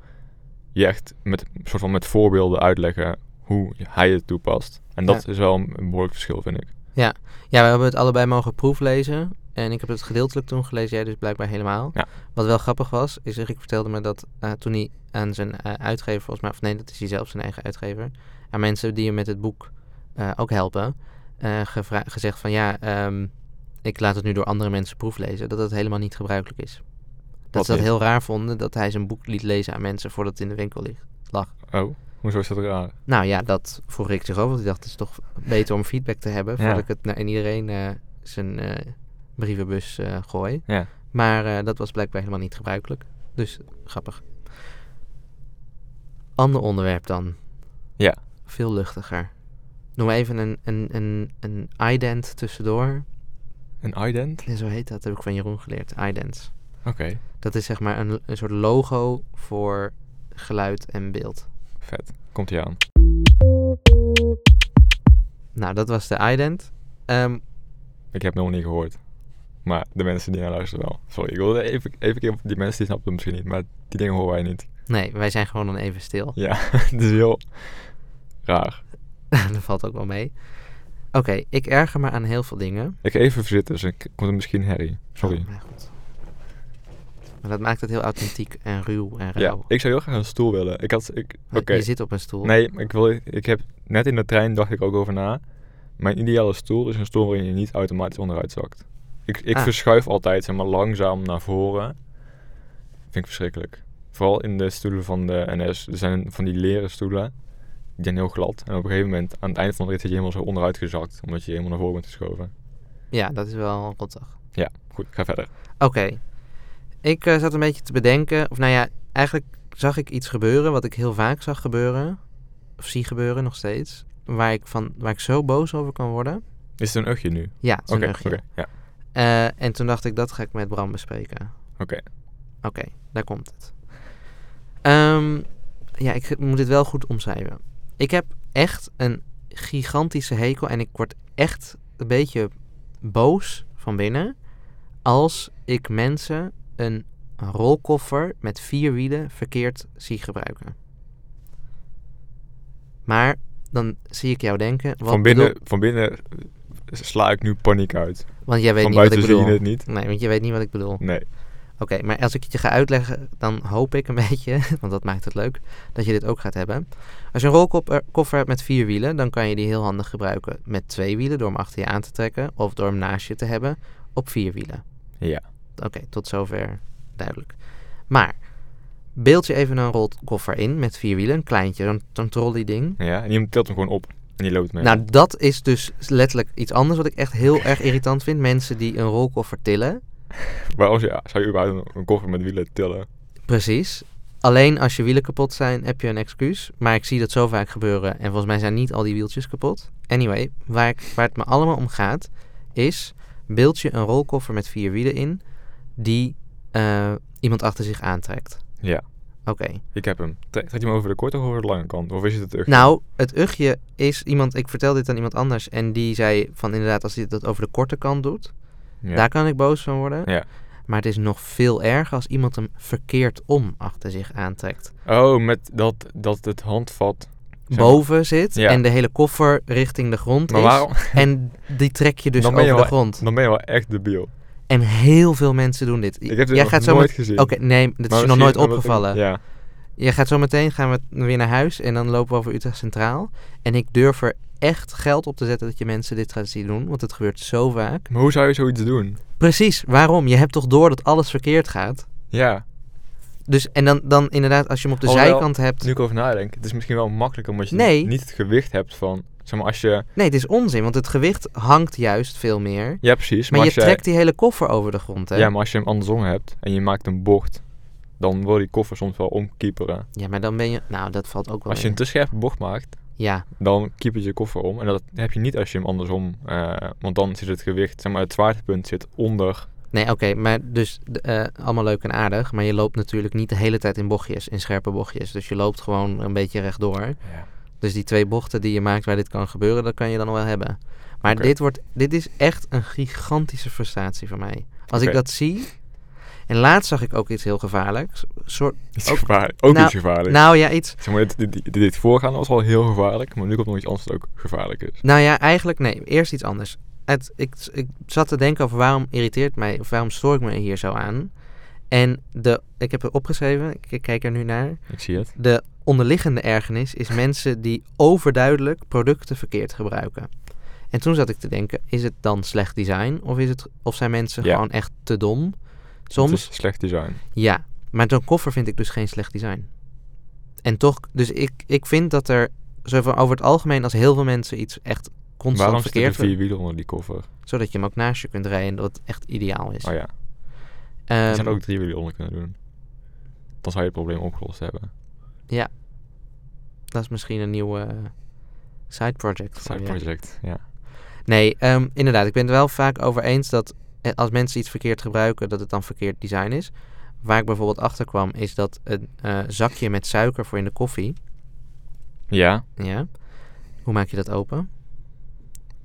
S2: je echt met, soort van met voorbeelden uitleggen hoe hij het toepast. En dat is wel een, een behoorlijk verschil, vind ik.
S1: Ja, we hebben het allebei mogen proeflezen. En ik heb het gedeeltelijk toen gelezen, jij dus blijkbaar helemaal.
S2: Ja.
S1: Wat wel grappig was, is Rick vertelde me dat eh, toen hij aan zijn eh, uitgever, volgens mij, of nee, dat is hij zelf, zijn eigen uitgever, aan mensen die hem met het boek eh, ook helpen, eh, gevra- gezegd van ja, ehm, ik laat het nu door andere mensen proeflezen, dat dat helemaal niet gebruikelijk is. Dat
S2: Wat
S1: ze dat
S2: niet?
S1: heel raar vonden, dat hij zijn boek liet lezen aan mensen voordat het in de winkel ligt.
S2: Oh, hoezo is dat raar?
S1: Nou ja, dat vroeg ik zich ook, want ik dacht, het is toch beter om feedback te hebben...
S2: Ja.
S1: voordat ik het naar in iedereen eh, zijn eh, brievenbus eh, gooi.
S2: Ja.
S1: Maar eh, dat was blijkbaar helemaal niet gebruikelijk. Dus grappig. Ander onderwerp dan.
S2: Ja.
S1: Veel luchtiger. Noem even een, een, een, een ident tussendoor.
S2: Een ident?
S1: Ja, zo heet dat, heb ik van Jeroen geleerd. Idents.
S2: Oké,
S1: Dat is zeg maar een, een soort logo voor geluid en beeld.
S2: vet. Komt hij aan.
S1: Nou, dat was de ident. Ehm,
S2: Ik heb hem nog niet gehoord. Maar de mensen die naar luisteren wel. Sorry, ik wilde even, even keer, die mensen die snappen het misschien niet, maar die dingen horen wij niet.
S1: nee, wij zijn gewoon dan even stil.
S2: Ja, het is heel raar.
S1: dat valt ook wel mee. Oké, ik erger me aan heel veel dingen.
S2: Ik ga even zitten, dus ik komt er misschien herrie. Sorry.
S1: Oh, maar, goed. maar dat maakt het heel authentiek en ruw en
S2: Ja,
S1: rauw.
S2: ik zou heel graag een stoel willen. Ik had, ik, oké.
S1: Want Je zit op een stoel.
S2: Nee, maar ik, wil, ik heb net in de trein dacht ik ook over na. Mijn ideale stoel is een stoel waarin je niet automatisch onderuit zakt. Ik, ik
S1: Ah.
S2: verschuif altijd zeg maar, langzaam naar voren. Vind ik verschrikkelijk. Vooral in de stoelen van de NS. Er zijn van die leren stoelen. Die zijn heel glad. En op een gegeven moment, aan het eind van de rit, zit je helemaal zo onderuit gezakt. Omdat je helemaal naar voren bent geschoven.
S1: Ja, dat is wel rottig.
S2: Ja, goed. Ik ga verder.
S1: Oké. Ik eh, zat een beetje te bedenken. Of nou ja, eigenlijk zag ik iets gebeuren wat ik heel vaak zag gebeuren. Of zie gebeuren nog steeds. Waar ik, van, waar ik zo boos over kan worden.
S2: Is het een uchtje nu?
S1: Ja, het is
S2: Oké,
S1: een
S2: oké.
S1: luchtje.
S2: ja.
S1: Eh, en toen dacht ik, dat ga ik met Bram bespreken.
S2: Oké.
S1: Oké, daar komt het. Ehm, ja, ik moet dit wel goed omschrijven. Ik heb echt een gigantische hekel en ik word echt een beetje boos van binnen als ik mensen een rolkoffer met vier wielen verkeerd zie gebruiken. Maar dan zie ik jou denken. Wat
S2: Van binnen,
S1: bedoel-
S2: van binnen sla ik nu paniek uit.
S1: want jij weet
S2: van
S1: niet wat ik
S2: buiten zie
S1: bedoel.
S2: je het niet.
S1: Nee, want je weet niet wat ik bedoel.
S2: Nee.
S1: Oké, maar als ik het je ga uitleggen, dan hoop ik een beetje, want dat maakt het leuk, dat je dit ook gaat hebben. Als je een rolkoffer koffer hebt met vier wielen, dan kan je die heel handig gebruiken met twee wielen, door hem achter je aan te trekken of door hem naast je te hebben op vier wielen.
S2: Ja.
S1: Oké, tot zover duidelijk. Maar, beeld je even een rolkoffer in met vier wielen, een kleintje, zo'n zo'n trolley ding.
S2: Ja, en iemand tilt hem gewoon op. En die loopt mee.
S1: Nou, dat is dus letterlijk iets anders wat ik echt heel erg irritant vind. Mensen die een rolkoffer tillen,
S2: Maar als je, zou je überhaupt een, een koffer met wielen tillen?
S1: Precies. Alleen als je wielen kapot zijn, heb je een excuus. Maar ik zie dat zo vaak gebeuren. En volgens mij zijn niet al die wieltjes kapot. Anyway, waar, ik, waar het me allemaal om gaat, is... Beeld je een rolkoffer met vier wielen in... die eh, iemand achter zich aantrekt.
S2: Ja.
S1: Oké.
S2: Ik heb hem. Trek trek je hem over de korte of over de lange kant? Of is het het echt?
S1: Nou, het ugje is iemand... Ik vertel dit aan iemand anders. En die zei van inderdaad, als hij dat over de korte kant doet...
S2: ja.
S1: daar kan ik boos van worden.
S2: Ja.
S1: Maar het is nog veel erger als iemand hem verkeerd om achter zich aantrekt.
S2: Oh, met dat, dat het handvat. Zeg maar.
S1: boven zit
S2: Ja.
S1: en de hele koffer richting de grond
S2: Maar
S1: is.
S2: waarom?
S1: En die trek je dus
S2: Dan
S1: over
S2: ben
S1: de
S2: je wel-
S1: grond.
S2: Dan ben je wel echt debiel.
S1: En heel veel mensen doen dit.
S2: Ik heb dit
S1: Jij
S2: nog
S1: gaat zo
S2: nooit
S1: met-
S2: gezien.
S1: Oké, nee, dat is
S2: Maar
S1: je nog
S2: misschien
S1: nooit
S2: omdat ik-
S1: opgevallen.
S2: Ja.
S1: Je gaat zo meteen gaan we weer naar huis en dan lopen we over Utrecht Centraal. En ik durf er echt geld op te zetten dat je mensen dit gaat zien doen, want het gebeurt zo vaak.
S2: Maar hoe zou je zoiets doen?
S1: Precies, waarom? Je hebt toch door dat alles verkeerd gaat.
S2: Ja.
S1: Dus, en dan, dan inderdaad, als je hem op de
S2: Alhoewel,
S1: zijkant hebt...
S2: Nu ik over nadenk, het is misschien wel makkelijker omdat je
S1: Nee.
S2: niet het gewicht hebt van. Zeg maar als je.
S1: Nee, het is onzin, want het gewicht hangt juist veel meer. Maar,
S2: Ja, precies. Maar,
S1: je
S2: als jij-
S1: trekt die hele koffer over de grond, hè?
S2: Ja, maar als je hem andersom hebt en je maakt een bocht, dan wil die koffer soms wel omkieperen.
S1: Ja, maar dan ben je... Nou, dat valt ook wel
S2: Als je een
S1: mee.
S2: te scherpe bocht maakt,
S1: Ja,
S2: dan kiepert je koffer om. En dat heb je niet als je hem andersom. eh, want dan zit het gewicht, zeg maar, het zwaartepunt zit onder.
S1: nee, oké. maar dus d- eh, allemaal leuk en aardig. Maar je loopt natuurlijk niet de hele tijd in bochtjes, in scherpe bochtjes. Dus je loopt gewoon een beetje rechtdoor.
S2: Ja.
S1: Dus die twee bochten die je maakt waar dit kan gebeuren, dat kan je dan wel hebben. Maar
S2: Oké.
S1: dit, wordt, dit is echt een gigantische frustratie voor mij. Als ik
S2: Oké.
S1: dat zie... En laatst zag ik ook iets heel gevaarlijks. Soort,
S2: Iets
S1: Ook-
S2: gevaarlijk. Ook
S1: nou-
S2: iets gevaarlijks.
S1: nou ja, iets...
S2: Zeg maar, dit, dit, dit, dit voorgaande was al heel gevaarlijk. Maar nu komt nog iets anders dat ook gevaarlijk is.
S1: Nou ja, eigenlijk nee. Eerst iets anders. Ehm, het, ik, ik zat te denken over waarom irriteert mij, of waarom stoor ik me hier zo aan. En de, ik heb het opgeschreven, ik- ik kijk er nu naar.
S2: Ik zie het.
S1: De onderliggende ergernis is mensen die overduidelijk producten verkeerd gebruiken. En toen zat ik te denken, is het dan slecht design of, is het, of zijn mensen
S2: Ja.
S1: gewoon echt te dom?
S2: Het
S1: Soms,
S2: is slecht design.
S1: ja. Maar zo'n koffer vind ik dus geen slecht design. En toch, dus ik, ik vind dat er zo van over het algemeen als heel veel mensen iets echt constant
S2: Waarom zitten er
S1: verkeerd doen,
S2: vier wielen onder die koffer?
S1: zodat je hem ook naast je kunt rijden en dat het echt ideaal is.
S2: Oh ja,
S1: Ehm,
S2: er zouden ook drie wielen onder kunnen doen. Dan zou je het probleem opgelost hebben.
S1: Dat is misschien een nieuwe eh, side project. voor
S2: Side
S1: je.
S2: project, ja.
S1: Nee, ehm, inderdaad. Ik ben het wel vaak over eens dat eh, als mensen iets verkeerd gebruiken, dat het dan verkeerd design is. Waar ik bijvoorbeeld achter kwam, is dat een eh, zakje met suiker voor in de koffie.
S2: Ja,
S1: Ja. Hoe maak je dat open?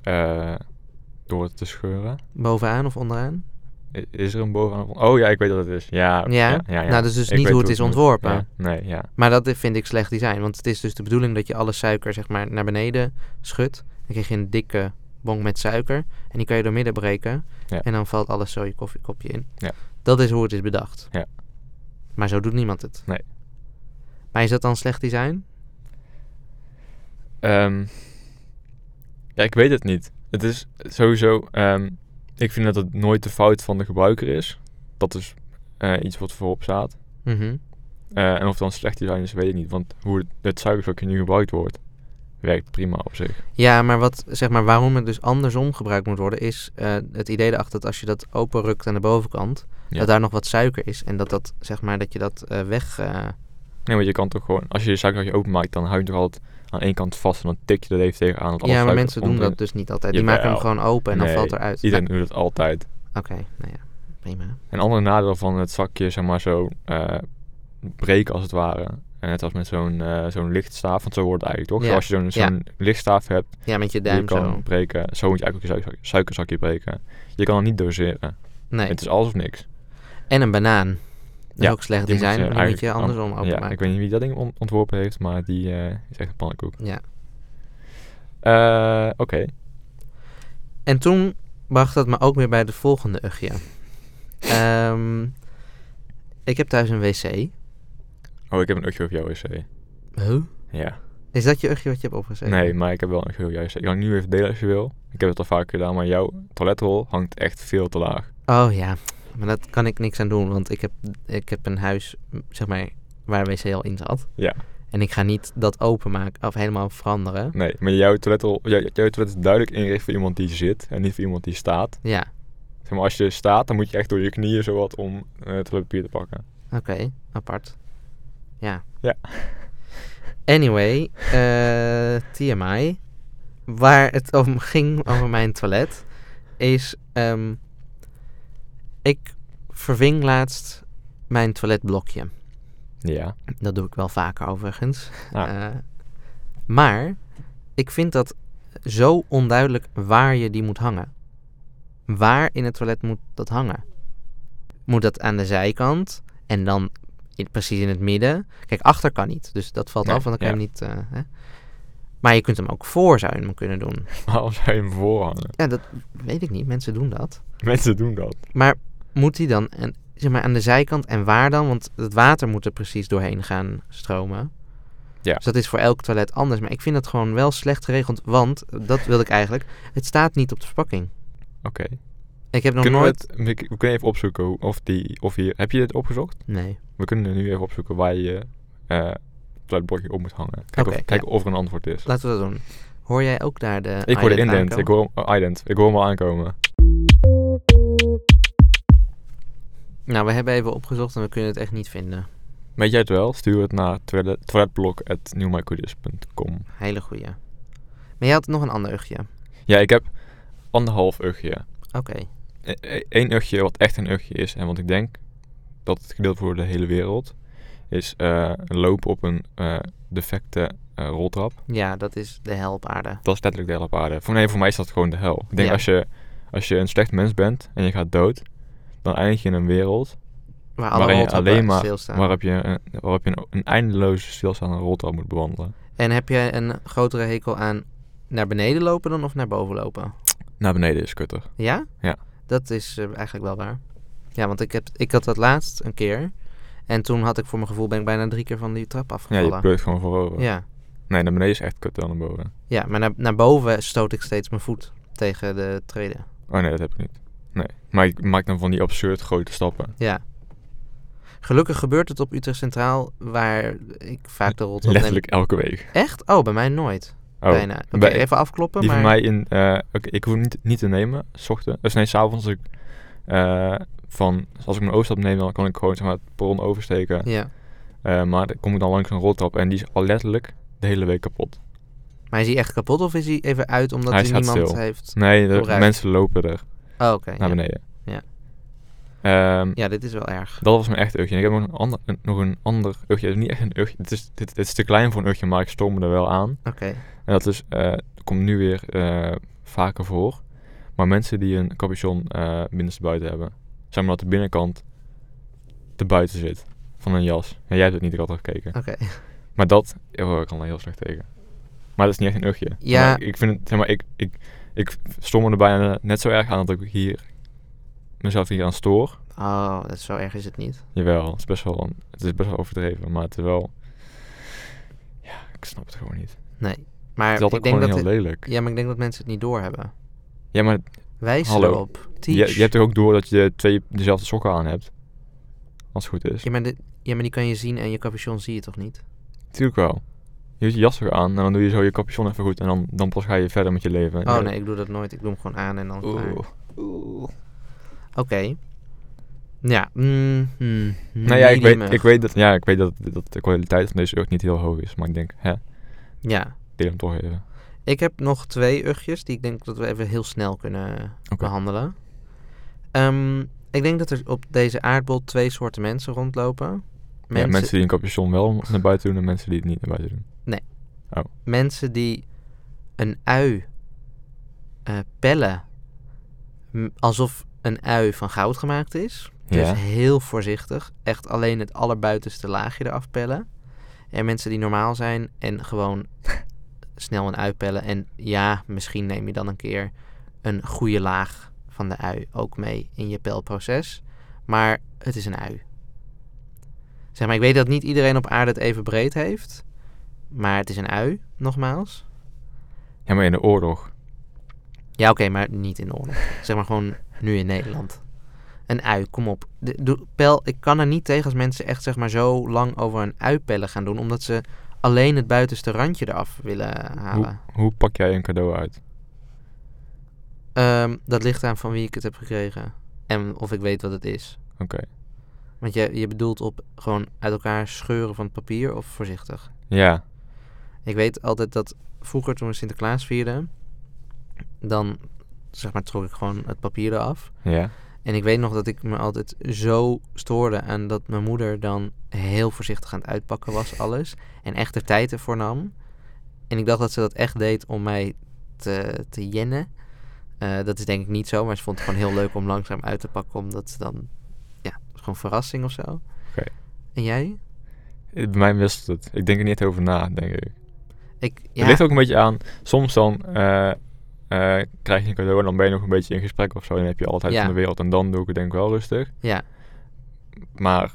S2: eh, door het te scheuren.
S1: Bovenaan of onderaan?
S2: I- Is er een bovenaan? of on- Oh ja, ik weet wat het is. Ja,
S1: Ja? Nou, dat is dus
S2: Ik
S1: niet
S2: weet
S1: hoe het is
S2: moet.
S1: ontworpen.
S2: Ja, Nee, ja.
S1: Maar dat vind ik slecht design. Want het is dus de bedoeling dat je alle suiker zeg maar, naar beneden schudt. Dan krijg je een dikke bong met suiker. En die kan je door midden breken.
S2: Ja.
S1: En dan valt alles zo je koffiekopje in.
S2: Ja.
S1: Dat is hoe het is bedacht.
S2: Ja.
S1: Maar zo doet niemand het.
S2: Nee.
S1: Maar is dat dan slecht design?
S2: Ehm, ja, ik weet het niet. Het is sowieso. ehm, ik vind dat het nooit de fout van de gebruiker is. Dat is eh, iets wat voorop staat.
S1: Mhm.
S2: Eh, en of het dan slecht design is, weet ik niet. Want hoe het, het suikervlakje nu gebruikt wordt, werkt prima op zich.
S1: Ja, maar, wat, zeg maar waarom het dus andersom gebruikt moet worden... is eh, het idee erachter dat als je dat openrukt aan de bovenkant...
S2: Ja.
S1: dat daar nog wat suiker is. En dat, dat, zeg maar, dat je dat eh, weg... eh,
S2: Nee, want je kan toch gewoon. Als je je suikervlakje openmaakt, dan hou je hem toch altijd aan één kant vast. En dan tik je er even tegenaan. dat alle
S1: ja, maar
S2: suiker
S1: mensen doen
S2: onderin-
S1: dat dus niet altijd. Die maken hem
S2: Jawel.
S1: gewoon open en dan
S2: Nee,
S1: valt eruit.
S2: Iedereen doet dat altijd.
S1: Oké, nou ja, prima.
S2: Een ander nadeel van het zakje, zeg maar zo eh, breken als het ware. En net als met zo'n eh zo'n lichtstaaf, want zo wordt het eigenlijk toch?
S1: Ja,
S2: Als je zo'n zo'n lichtstaaf hebt,
S1: Ja, met je
S2: die je
S1: duim
S2: kan
S1: zo.
S2: breken. Zo moet je eigenlijk ook je suik- suikerzakje breken. Je kan het niet doseren.
S1: Nee.
S2: Het is alles of niks.
S1: En een banaan. Dat is
S2: Ja,
S1: ook slecht
S2: Die moet je
S1: design, maar die moet je
S2: eigenlijk oh,
S1: andersom
S2: an-
S1: openmaken.
S2: Ja, ik weet niet wie dat ding on- ontworpen heeft, maar die eh, is echt een pannenkoek.
S1: Ja.
S2: Eh, Oké.
S1: En toen bracht dat me ook weer bij de volgende ugje. Ehm, ik heb thuis een wc.
S2: Oh, ik heb een ugje op jouw wc.
S1: Huh?
S2: Ja.
S1: Is dat je ugje wat je hebt opgezet?
S2: Nee, maar ik heb wel een ugje op jouw wc. Ik kan het nu even delen als je wil. Ik heb het al vaak gedaan, maar jouw toiletrol hangt echt veel te laag.
S1: Oh ja, maar dat kan ik niks aan doen, want ik heb, ik heb een huis, m, zeg maar, waar een wc al in zat.
S2: Ja.
S1: En ik ga niet dat openmaken of helemaal veranderen.
S2: Nee, maar jouw toilet, al- jou- jouw toilet is duidelijk ingericht voor iemand die zit en niet voor iemand die staat.
S1: Ja.
S2: Zeg maar, als je staat, dan moet je echt door je knieën zowat om eh toiletpapier te pakken.
S1: Oké, apart. Ja.
S2: Ja.
S1: Anyway, eh, TMI. Waar het om ging, over mijn toilet, is... ehm, ik verving laatst mijn toiletblokje.
S2: Ja.
S1: Dat doe ik wel vaker overigens.
S2: Ah.
S1: Eh, maar ik vind dat zo onduidelijk waar je die moet hangen. Waar in het toilet moet dat hangen? Moet dat aan de zijkant en dan in- precies in het midden? Kijk, achter kan niet, dus dat valt
S2: Nee,
S1: af, want dan kan
S2: ja.
S1: je hem niet... eh, hè? Maar je kunt hem ook voor zou je hem kunnen doen.
S2: Waarom zou je hem voorhangen?
S1: Ja, dat weet ik niet. Mensen doen dat.
S2: Mensen doen dat.
S1: Maar moet die dan en, zeg maar, aan de zijkant en waar dan? Want het water moet er precies doorheen gaan stromen.
S2: Ja.
S1: Dus dat is voor elk toilet anders. Maar ik vind dat gewoon wel slecht geregeld. Want, dat wil ik eigenlijk, het staat niet op de verpakking.
S2: Oké.
S1: Ik heb nog
S2: Kunnen we,
S1: nooit...
S2: het, we we kunnen even opzoeken hoe- of, die, of hier... Heb je dit opgezocht?
S1: Nee.
S2: We kunnen nu even opzoeken waar je eh toiletblokje op moet hangen. Kijken
S1: Oké,
S2: of, kijken of er een antwoord is.
S1: Laten we dat doen. Hoor jij ook daar de...
S2: ik hoor de
S1: island
S2: indent.
S1: aankomen?
S2: Ik hoor, hem- oh, ident. Ik hoor hem al aankomen.
S1: Nou, we hebben even opgezocht en we kunnen het echt niet vinden.
S2: Weet jij het wel? Stuur het naar toilet, toiletblok.newmycodis.com
S1: Hele goeie. Maar jij had nog een ander ugje.
S2: Ja, ik heb anderhalf e, ugje.
S1: Oké.
S2: Eén ugje wat echt een ugje is en wat ik denk dat het gedeeld wordt door de hele wereld, is eh, lopen op een eh, defecte eh, roltrap.
S1: Ja, dat is de hel op aarde.
S2: Dat is letterlijk de hel op aarde. Voor, nee, voor mij is dat gewoon de hel. Ik denk
S1: Ja.
S2: als, je, als je een slecht mens bent en je gaat dood, dan eindig je in een wereld
S1: Waar alle
S2: waarin je
S1: roltrappen
S2: alleen maar
S1: stilstaan.
S2: waarop je, een, waarop je een, een eindeloze stilstaande roltrap moet bewandelen.
S1: En heb jij een grotere hekel aan naar beneden lopen dan of naar boven lopen?
S2: Naar beneden is kutter.
S1: Ja?
S2: Ja.
S1: Dat is eh, eigenlijk wel waar. Ja, want ik, heb, ik had dat laatst een keer. En toen had ik voor mijn gevoel ben ik bijna drie keer van die trap
S2: Ja, je
S1: afgevallen.
S2: pleurt gewoon voorover.
S1: ja.
S2: Nee, naar beneden is echt kutter dan naar boven.
S1: Ja, maar naar, naar boven stoot ik steeds mijn voet tegen de treden.
S2: Oh nee, dat heb ik niet. Nee. Maar ik maak dan van die absurd grote stappen.
S1: Ja. Gelukkig gebeurt het op Utrecht Centraal, waar ik vaak de rol opneem.
S2: Letterlijk elke week.
S1: Echt? Oh, bij mij nooit.
S2: Oh,
S1: Bijna. Oké,
S2: bij-
S1: even afkloppen,
S2: Die
S1: maar...
S2: van mij in... eh oké, ik hoef niet, niet te nemen, s ochtends. Dus nee, s'avonds als ik... eh, van, als ik mijn overstap neem, dan kan ik gewoon zeg maar, het perron oversteken.
S1: Ja.
S2: Eh, maar dan kom ik dan langs een roltrap en die is al letterlijk de hele week kapot.
S1: Maar is hij echt kapot of is hij even uit omdat
S2: Hij
S1: hij,
S2: staat
S1: niemand
S2: stil.
S1: heeft...
S2: Nee, de
S1: Vooruit.
S2: mensen lopen er
S1: Oh, oké.
S2: naar
S1: ja.
S2: beneden.
S1: Ja.
S2: Ehm,
S1: Ja, dit is wel erg.
S2: Dat was mijn echt urgje. En ik heb nog een ander, een- nog een ander urgje. Het is niet echt een urgje. Het is, dit, dit is te klein voor een urgje, maar ik stoor me er wel aan.
S1: Oké.
S2: En dat is, eh, komt nu weer eh, vaker voor. Maar mensen die een capuchon eh buiten hebben. Zeg maar dat de binnenkant te buiten zit van een jas. En jij hebt het niet altijd gekeken.
S1: Oké.
S2: Maar dat, oh, ik kan er heel slecht tegen. Maar dat is niet echt een urgje.
S1: Ja.
S2: Maar ik, ik vind het, zeg maar, ik, ik, ik stoor me er bijna net zo erg aan dat ik hier mezelf hier aan stoor.
S1: Oh, dat zo erg is het niet.
S2: Jawel, het is best wel, een- het is best wel overdreven, maar het is wel... Ja, ik snap het gewoon niet.
S1: Nee.
S2: Het
S1: Maar
S2: is altijd
S1: ik denk
S2: gewoon
S1: dat...
S2: heel
S1: het-
S2: lelijk.
S1: Ja, maar ik denk dat mensen het niet doorhebben.
S2: Ja, maar
S1: Wijs
S2: Hallo.
S1: erop.
S2: je,
S1: Teach.
S2: je hebt toch ook door dat je twee dezelfde sokken aan hebt? Als het goed is.
S1: ja, maar dit- ja, maar die kan je zien en je capuchon zie je toch niet?
S2: Tuurlijk wel. Je doet je jas toch aan en dan doe je zo je capuchon even goed en dan, dan pas ga je verder met je leven.
S1: Oh nee, ik doe dat nooit. Ik doe hem gewoon aan en dan klaar.
S2: Oeh. Nou
S1: Oké. Ja. mm, mm,
S2: Nou ja, ik weet,
S1: mediumig.
S2: ik weet dat, ja, ik weet dat, dat de kwaliteit van deze ook niet heel hoog is, maar ik denk, hè,
S1: Ja.
S2: deel hem toch even.
S1: Ik heb nog twee ugjes die ik denk dat we even heel snel kunnen
S2: Oké.
S1: behandelen. Ehm, ik denk dat er op deze aardbol twee soorten mensen rondlopen.
S2: Mensen...
S1: Mensen,
S2: mensen die een capuchon wel naar buiten doen en mensen die het niet naar buiten doen.
S1: mensen die een ui eh, pellen m- alsof een ui van goud gemaakt is. Dus
S2: Ja.
S1: heel voorzichtig. Echt alleen het allerbuitenste laagje eraf pellen. En mensen die normaal zijn en gewoon snel een ui pellen. En ja, misschien neem je dan een keer een goede laag van de ui ook mee in je pelproces. Maar het is een ui. Zeg maar, ik weet dat niet iedereen op aarde het even breed heeft. Maar het is een ui, nogmaals.
S2: Ja, maar in de oorlog.
S1: Ja, oké, maar niet in de oorlog. Zeg maar gewoon nu in Nederland. Een ui, kom op. De, doe- pel, ik kan er niet tegen als mensen echt zeg maar zo lang over een ui pellen gaan doen. Omdat ze alleen het buitenste randje eraf willen halen.
S2: Hoe pak jij een cadeau uit?
S1: Ehm, dat ligt aan van wie ik het heb gekregen. En of ik weet wat het is.
S2: Oké.
S1: Want je, je bedoelt op gewoon uit elkaar scheuren van het papier of voorzichtig?
S2: Ja,
S1: Ik weet altijd dat vroeger toen we Sinterklaas vierden, dan zeg maar trok ik gewoon het papier eraf.
S2: ja.
S1: En ik weet nog dat ik me altijd zo stoorde aan dat mijn moeder dan heel voorzichtig aan het uitpakken was alles. En echt de tijd ervoor nam. En ik dacht dat ze dat echt deed om mij te, te jennen. Eh, dat is denk ik niet zo, maar ze vond het gewoon heel leuk om langzaam uit te pakken. Omdat ze dan, ja, gewoon verrassing of zo.
S2: Oké.
S1: En jij?
S2: Bij mij wisselt het. Ik denk er niet over na, denk ik.
S1: Ik,
S2: Het
S1: ja,
S2: ligt ook een beetje aan. Soms dan eh, eh, krijg je een cadeau en dan ben je nog een beetje in gesprek of zo. En dan heb je altijd
S1: Ja.
S2: van de wereld. En dan doe ik het denk ik wel rustig.
S1: ja.
S2: Maar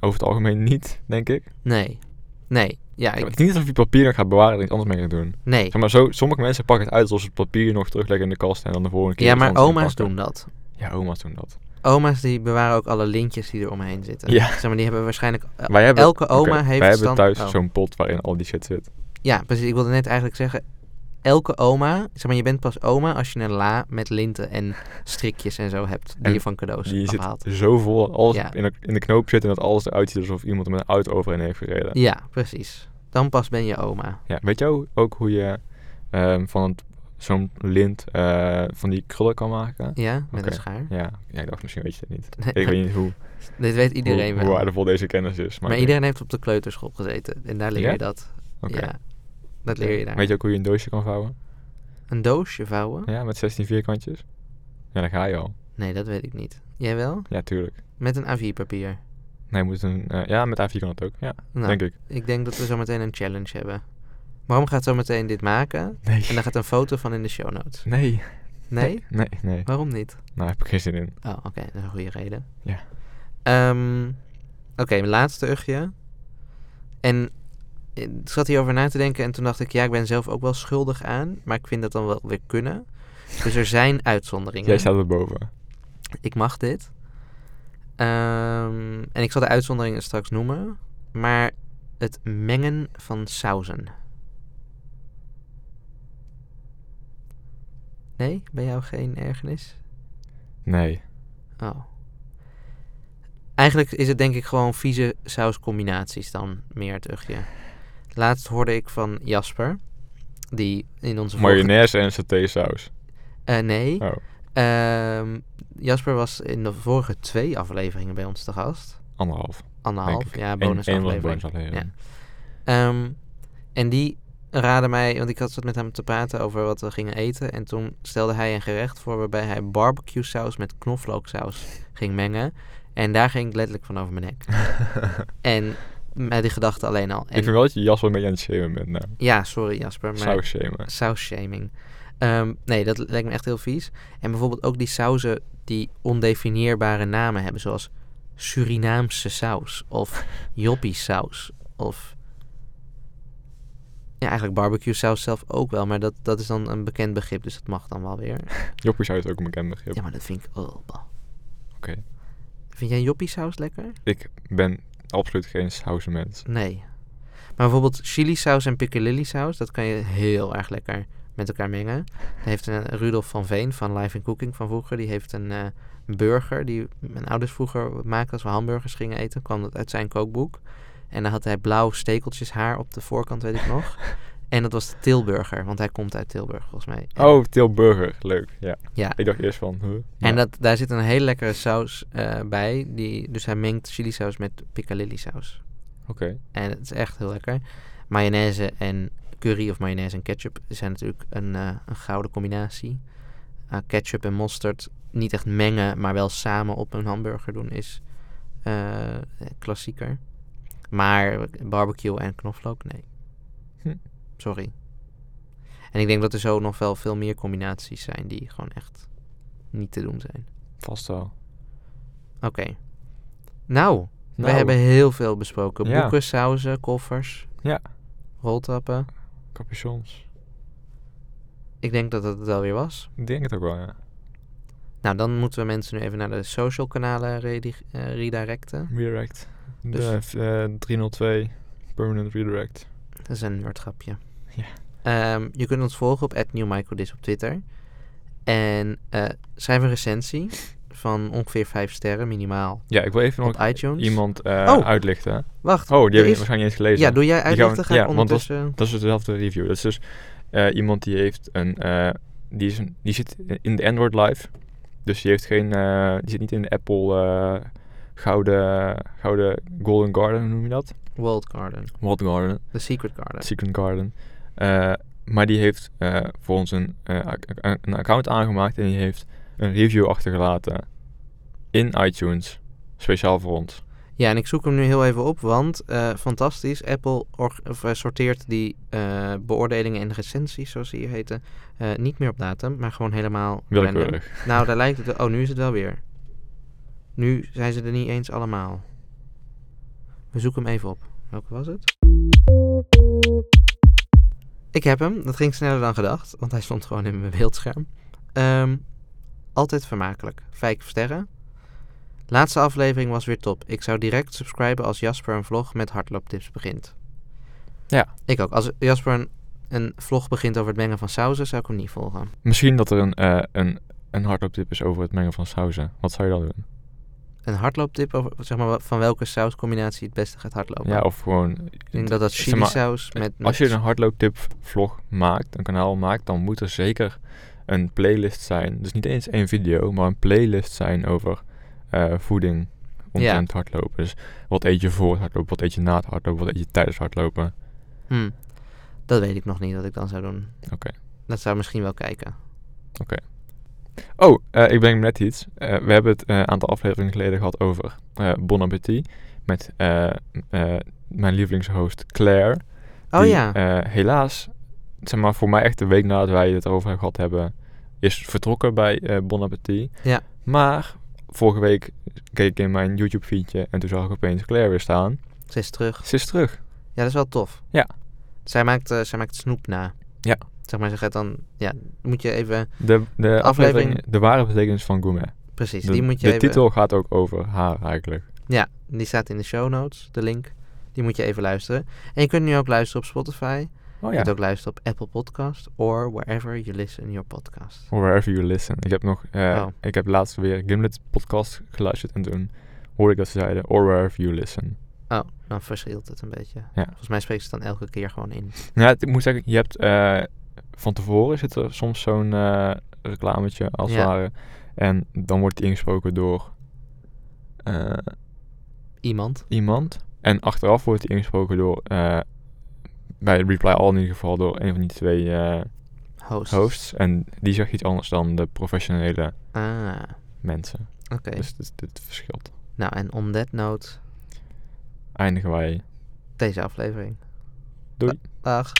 S2: over het algemeen niet, denk ik.
S1: Nee. Nee. Ja, ik,
S2: Het is niet alsof je papier nog gaat bewaren en iets anders mee gaat doen.
S1: nee.
S2: Zeg maar zo, sommige mensen pakken het uit alsof ze het papier nog terugleggen in de kast. En dan de volgende keer
S1: Ja,
S2: iets
S1: maar
S2: anders mee
S1: oma's doen
S2: pakken.
S1: dat.
S2: Ja, oma's doen dat.
S1: Oma's die bewaren ook alle lintjes die er omheen zitten.
S2: Ja.
S1: Zeg maar, die hebben waarschijnlijk... eh,
S2: Wij hebben,
S1: elke oma
S2: oké,
S1: heeft
S2: Wij hebben
S1: stand-
S2: thuis
S1: oh.
S2: zo'n pot waarin al die shit zit.
S1: Ja, precies. Ik wilde net eigenlijk zeggen... Elke oma... Zeg maar, je bent pas oma als je een la met linten en strikjes en zo hebt. Die
S2: En
S1: je van cadeaus
S2: Die zit
S1: afhaalt.
S2: zo vol dat alles
S1: Ja.
S2: in, de, in de knoop zit en dat alles eruit ziet alsof iemand er met een auto overheen heeft gereden.
S1: Ja, precies. Dan pas ben je oma.
S2: Ja, weet jij ook- ook hoe je ehm, van het- zo'n lint eh, van die krullen kan maken?
S1: Ja, met
S2: Oké.
S1: een schaar.
S2: Ja, ja, ik dacht misschien weet je het niet.
S1: Nee,
S2: Ik weet niet hoe,
S1: Dit weet iedereen
S2: hoe,
S1: wel.
S2: hoe waardevol deze kennis is.
S1: maar
S2: ik-
S1: iedereen heeft op de kleuterschool gezeten. En daar leer
S2: Ja?
S1: je dat.
S2: oké.
S1: Ja. Dat leer je daar. Hm?
S2: Weet je ook hoe je een doosje kan vouwen?
S1: Een doosje vouwen?
S2: Ja, met 16 vierkantjes? Ja, daar ga je al.
S1: Nee, dat weet ik niet. Jij wel?
S2: Ja, tuurlijk.
S1: Met een A4-papier.
S2: Nee, moet een, eh, ja, met A4 kan het ook. Ja,
S1: Nou,
S2: denk ik.
S1: Ik denk dat we zo meteen een challenge hebben. Mam gaat zo meteen dit maken.
S2: Nee.
S1: En daar gaat een foto van in de show notes.
S2: Nee.
S1: Nee?
S2: Nee, nee.
S1: Waarom niet?
S2: Nou, heb ik geen zin in.
S1: Oh, oké. Dat is een goede reden.
S2: Ja.
S1: Ehm, oké, mijn laatste ugje. En ik zat hierover na te denken en toen dacht ik... Ja, ik ben zelf ook wel schuldig aan. Maar ik vind dat dan wel weer kunnen. Dus er zijn uitzonderingen.
S2: Jij staat er boven.
S1: ik mag dit. Ehm, en ik zal de uitzonderingen straks noemen. Maar het mengen van sauzen. Nee, bij jou geen ergernis?
S2: Nee.
S1: Oh. Eigenlijk is het denk ik gewoon vieze sauscombinaties dan meer het ugje. Laatst hoorde ik van Jasper, die in onze vorige-
S2: Mayonaise en satésaus.
S1: Eh, nee,
S2: Oh.
S1: Ehm, Jasper was in de vorige twee afleveringen bij ons te gast.
S2: Anderhalf. Denk
S1: Anderhalf,
S2: ik.
S1: ja,
S2: Eén-
S1: bonusaflevering.
S2: één was een bonusaflevering.
S1: Ehm, en die raadde mij, want ik had zat met hem te praten over wat we gingen eten. En toen stelde hij een gerecht voor waarbij hij barbecue saus met knoflooksaus ging mengen. En daar ging ik letterlijk van over mijn nek. En met die gedachte alleen al. En,
S2: ik vind wel dat je jas wel een beetje aan het shamen bent nou.
S1: Ja, sorry Jasper, maar
S2: Saus shamen.
S1: sausshaming. Ehm, nee, dat lijkt me echt heel vies. En bijvoorbeeld ook die sauzen die ondefinieerbare namen hebben, zoals Surinaamse saus of Joppie saus of ja, eigenlijk barbecue saus zelf ook wel, maar dat, dat is dan een bekend begrip, dus dat mag dan wel weer.
S2: Joppie saus is ook een bekend begrip.
S1: Ja, maar dat vind ik oh, bah.
S2: Oké.
S1: Vind jij Joppie saus lekker?
S2: Ik ben absoluut geen sausenmens.
S1: Nee. Maar bijvoorbeeld chili saus en piccalilli saus, dat kan je heel erg lekker met elkaar mengen. Daar heeft een eh, Rudolf van Veen van Live in Cooking van vroeger, die heeft een eh, burger die mijn ouders vroeger maakten als we hamburgers gingen eten, kwam dat uit zijn kookboek. En dan had hij blauw stekeltjes haar op de voorkant, weet ik nog. En dat was de Tilburger, want hij komt uit Tilburg volgens mij. En-
S2: Oh, Tilburger. Leuk. Ja.
S1: Ja.
S2: Ik dacht eerst van, huh? Nou,
S1: En
S2: Maar
S1: dat, daar zit een hele lekkere saus eh, bij, die, dus hij mengt chili saus met piccalilli saus.
S2: Oké.
S1: En het is echt heel lekker. Mayonaise en curry of mayonaise en ketchup zijn natuurlijk een, eh, een gouden combinatie. Eh, ketchup en mosterd niet echt mengen, maar wel samen op een hamburger doen is eh, klassieker. Maar barbecue en knoflook, nee.
S2: Hm.
S1: Sorry. En ik denk dat er zo nog wel veel meer combinaties zijn die gewoon echt niet te doen zijn.
S2: Vast wel.
S1: Oké. Nou, we hebben heel veel besproken.
S2: Ja.
S1: Boeken, sauzen, koffers.
S2: Ja.
S1: Roltappen.
S2: Capuchons.
S1: Ik denk dat dat het wel weer was.
S2: Ik denk het ook wel, ja.
S1: Nou, dan moeten we mensen nu even naar de social kanalen redi- eh, redirecten.
S2: Redirect.
S1: Dus-
S2: De, eh, 302. Permanent redirect.
S1: Dat is een woordgrapje.
S2: Ja.
S1: Ehm, je kunt ons volgen op @newmicrodis op Twitter. En eh, schrijf een recensie van ongeveer 5 sterren minimaal.
S2: Ja, ik wil even
S1: Op
S2: nog
S1: iTunes?
S2: iemand eh,
S1: Oh.
S2: uitlichten.
S1: Wacht.
S2: Oh, die
S1: er
S2: heb ik
S1: is-
S2: waarschijnlijk niet eens gelezen.
S1: Ja, doe jij
S2: gaan we-
S1: uitleggen? Ga ik
S2: ja, want dat is-
S1: ondertussen...
S2: Dat is dezelfde review. Dat is dus eh, iemand die heeft een, eh, die, is een, die zit in de Android Live. Dus die heeft geen, eh, die zit niet in de Apple eh, gouden, gouden Golden Garden, hoe noem je dat?
S1: World Garden.
S2: Wild Garden,
S1: The Secret Garden.
S2: Secret Garden. Eh, maar die heeft eh, voor ons een, eh, ac- ac- een account aangemaakt en die heeft een review achtergelaten in iTunes. Speciaal voor ons.
S1: Ja, en ik zoek hem nu heel even op, want eh, fantastisch. Apple org- of, eh, sorteert die eh, beoordelingen en recensies, zoals ze hier heten, eh, niet meer op datum, maar gewoon helemaal random.
S2: Willekeurig.
S1: Nou, daar lijkt het. wel- Oh, nu is het wel weer. Nu zijn ze er niet eens allemaal. We zoeken hem even op. Welke was het? Ik heb hem. Dat ging sneller dan gedacht, want hij stond gewoon in mijn beeldscherm. Ehm, altijd vermakelijk. Vijf sterren. Laatste aflevering was weer top. Ik zou direct subscriben als Jasper een vlog met hardlooptips begint.
S2: Ja.
S1: Ik ook. Als Jasper een, een vlog begint over het mengen van sauzen, zou ik hem niet volgen.
S2: Misschien dat er een, eh een, een hardlooptip is over het mengen van sauzen. Wat zou je dan doen?
S1: een hardlooptip over, zeg maar, van welke sauscombinatie het beste gaat hardlopen.
S2: Ja, of gewoon...
S1: ik denk dat dat
S2: Zeg
S1: chili
S2: maar, eh,
S1: saus met, met
S2: Als je een hardlooptip vlog maakt, een kanaal maakt, dan moet er zeker een playlist zijn. Dus niet eens één video, maar een playlist zijn over eh, voeding omtrent hardlopen. Dus wat eet je voor het hardlopen, wat eet je na het hardlopen, wat eet je tijdens het hardlopen.
S1: Hm. dat weet ik nog niet wat ik dan zou doen.
S2: Oké.
S1: Dat zou ik misschien wel kijken.
S2: Oh, eh, ik breng net iets. Eh, we hebben het eh, een aantal afleveringen geleden gehad over eh, Bon Appetit met eh, eh, mijn lievelingshost Claire.
S1: Oh
S2: die,
S1: ja,
S2: eh, helaas, zeg maar voor mij echt de week nadat wij het erover gehad hebben, is vertrokken bij eh Bon Appetit.
S1: Ja.
S2: Maar vorige week keek ik in mijn YouTube feedje en toen zag ik opeens Claire weer staan.
S1: Ze is terug.
S2: Ze is terug.
S1: Ja, dat is wel tof.
S2: Ja.
S1: Zij maakt, eh, zij maakt snoep na.
S2: Ja.
S1: Zeg maar, ze gaat dan... Ja, moet je even...
S2: De, de aflevering De ware betekenis van gourmet.
S1: Precies,
S2: De,
S1: die moet je
S2: de
S1: even...
S2: titel gaat ook over haar eigenlijk.
S1: Ja, die staat in de show notes, de link. Die moet je even luisteren. En je kunt nu ook luisteren op Spotify.
S2: Oh
S1: Je
S2: ja.
S1: kunt ook luisteren op Apple Podcast. Or wherever you listen your podcast.
S2: Or wherever you listen. Ik heb nog, eh,
S1: Oh.
S2: ik heb laatst weer Gimlet podcast geluisterd en toen hoorde ik dat ze zeiden, or wherever you listen.
S1: Oh, dan verschilt het een beetje.
S2: Ja.
S1: Volgens mij spreekt ze het dan elke keer gewoon in.
S2: Nou, het- ik moet zeggen, je hebt eh, van tevoren zit er soms zo'n eh, reclametje als het
S1: Ja.
S2: ware. En dan wordt die ingesproken door eh,
S1: Iemand.
S2: iemand. En achteraf wordt die ingesproken door, eh, bij Reply All in ieder geval, door een van die twee eh,
S1: Host.
S2: hosts. En die zegt iets anders dan de professionele
S1: Ah, oké.
S2: mensen. Dus dit, dit verschilt.
S1: Nou, en on that note,
S2: Eindigen wij.
S1: deze aflevering.
S2: Doei.
S1: Dag.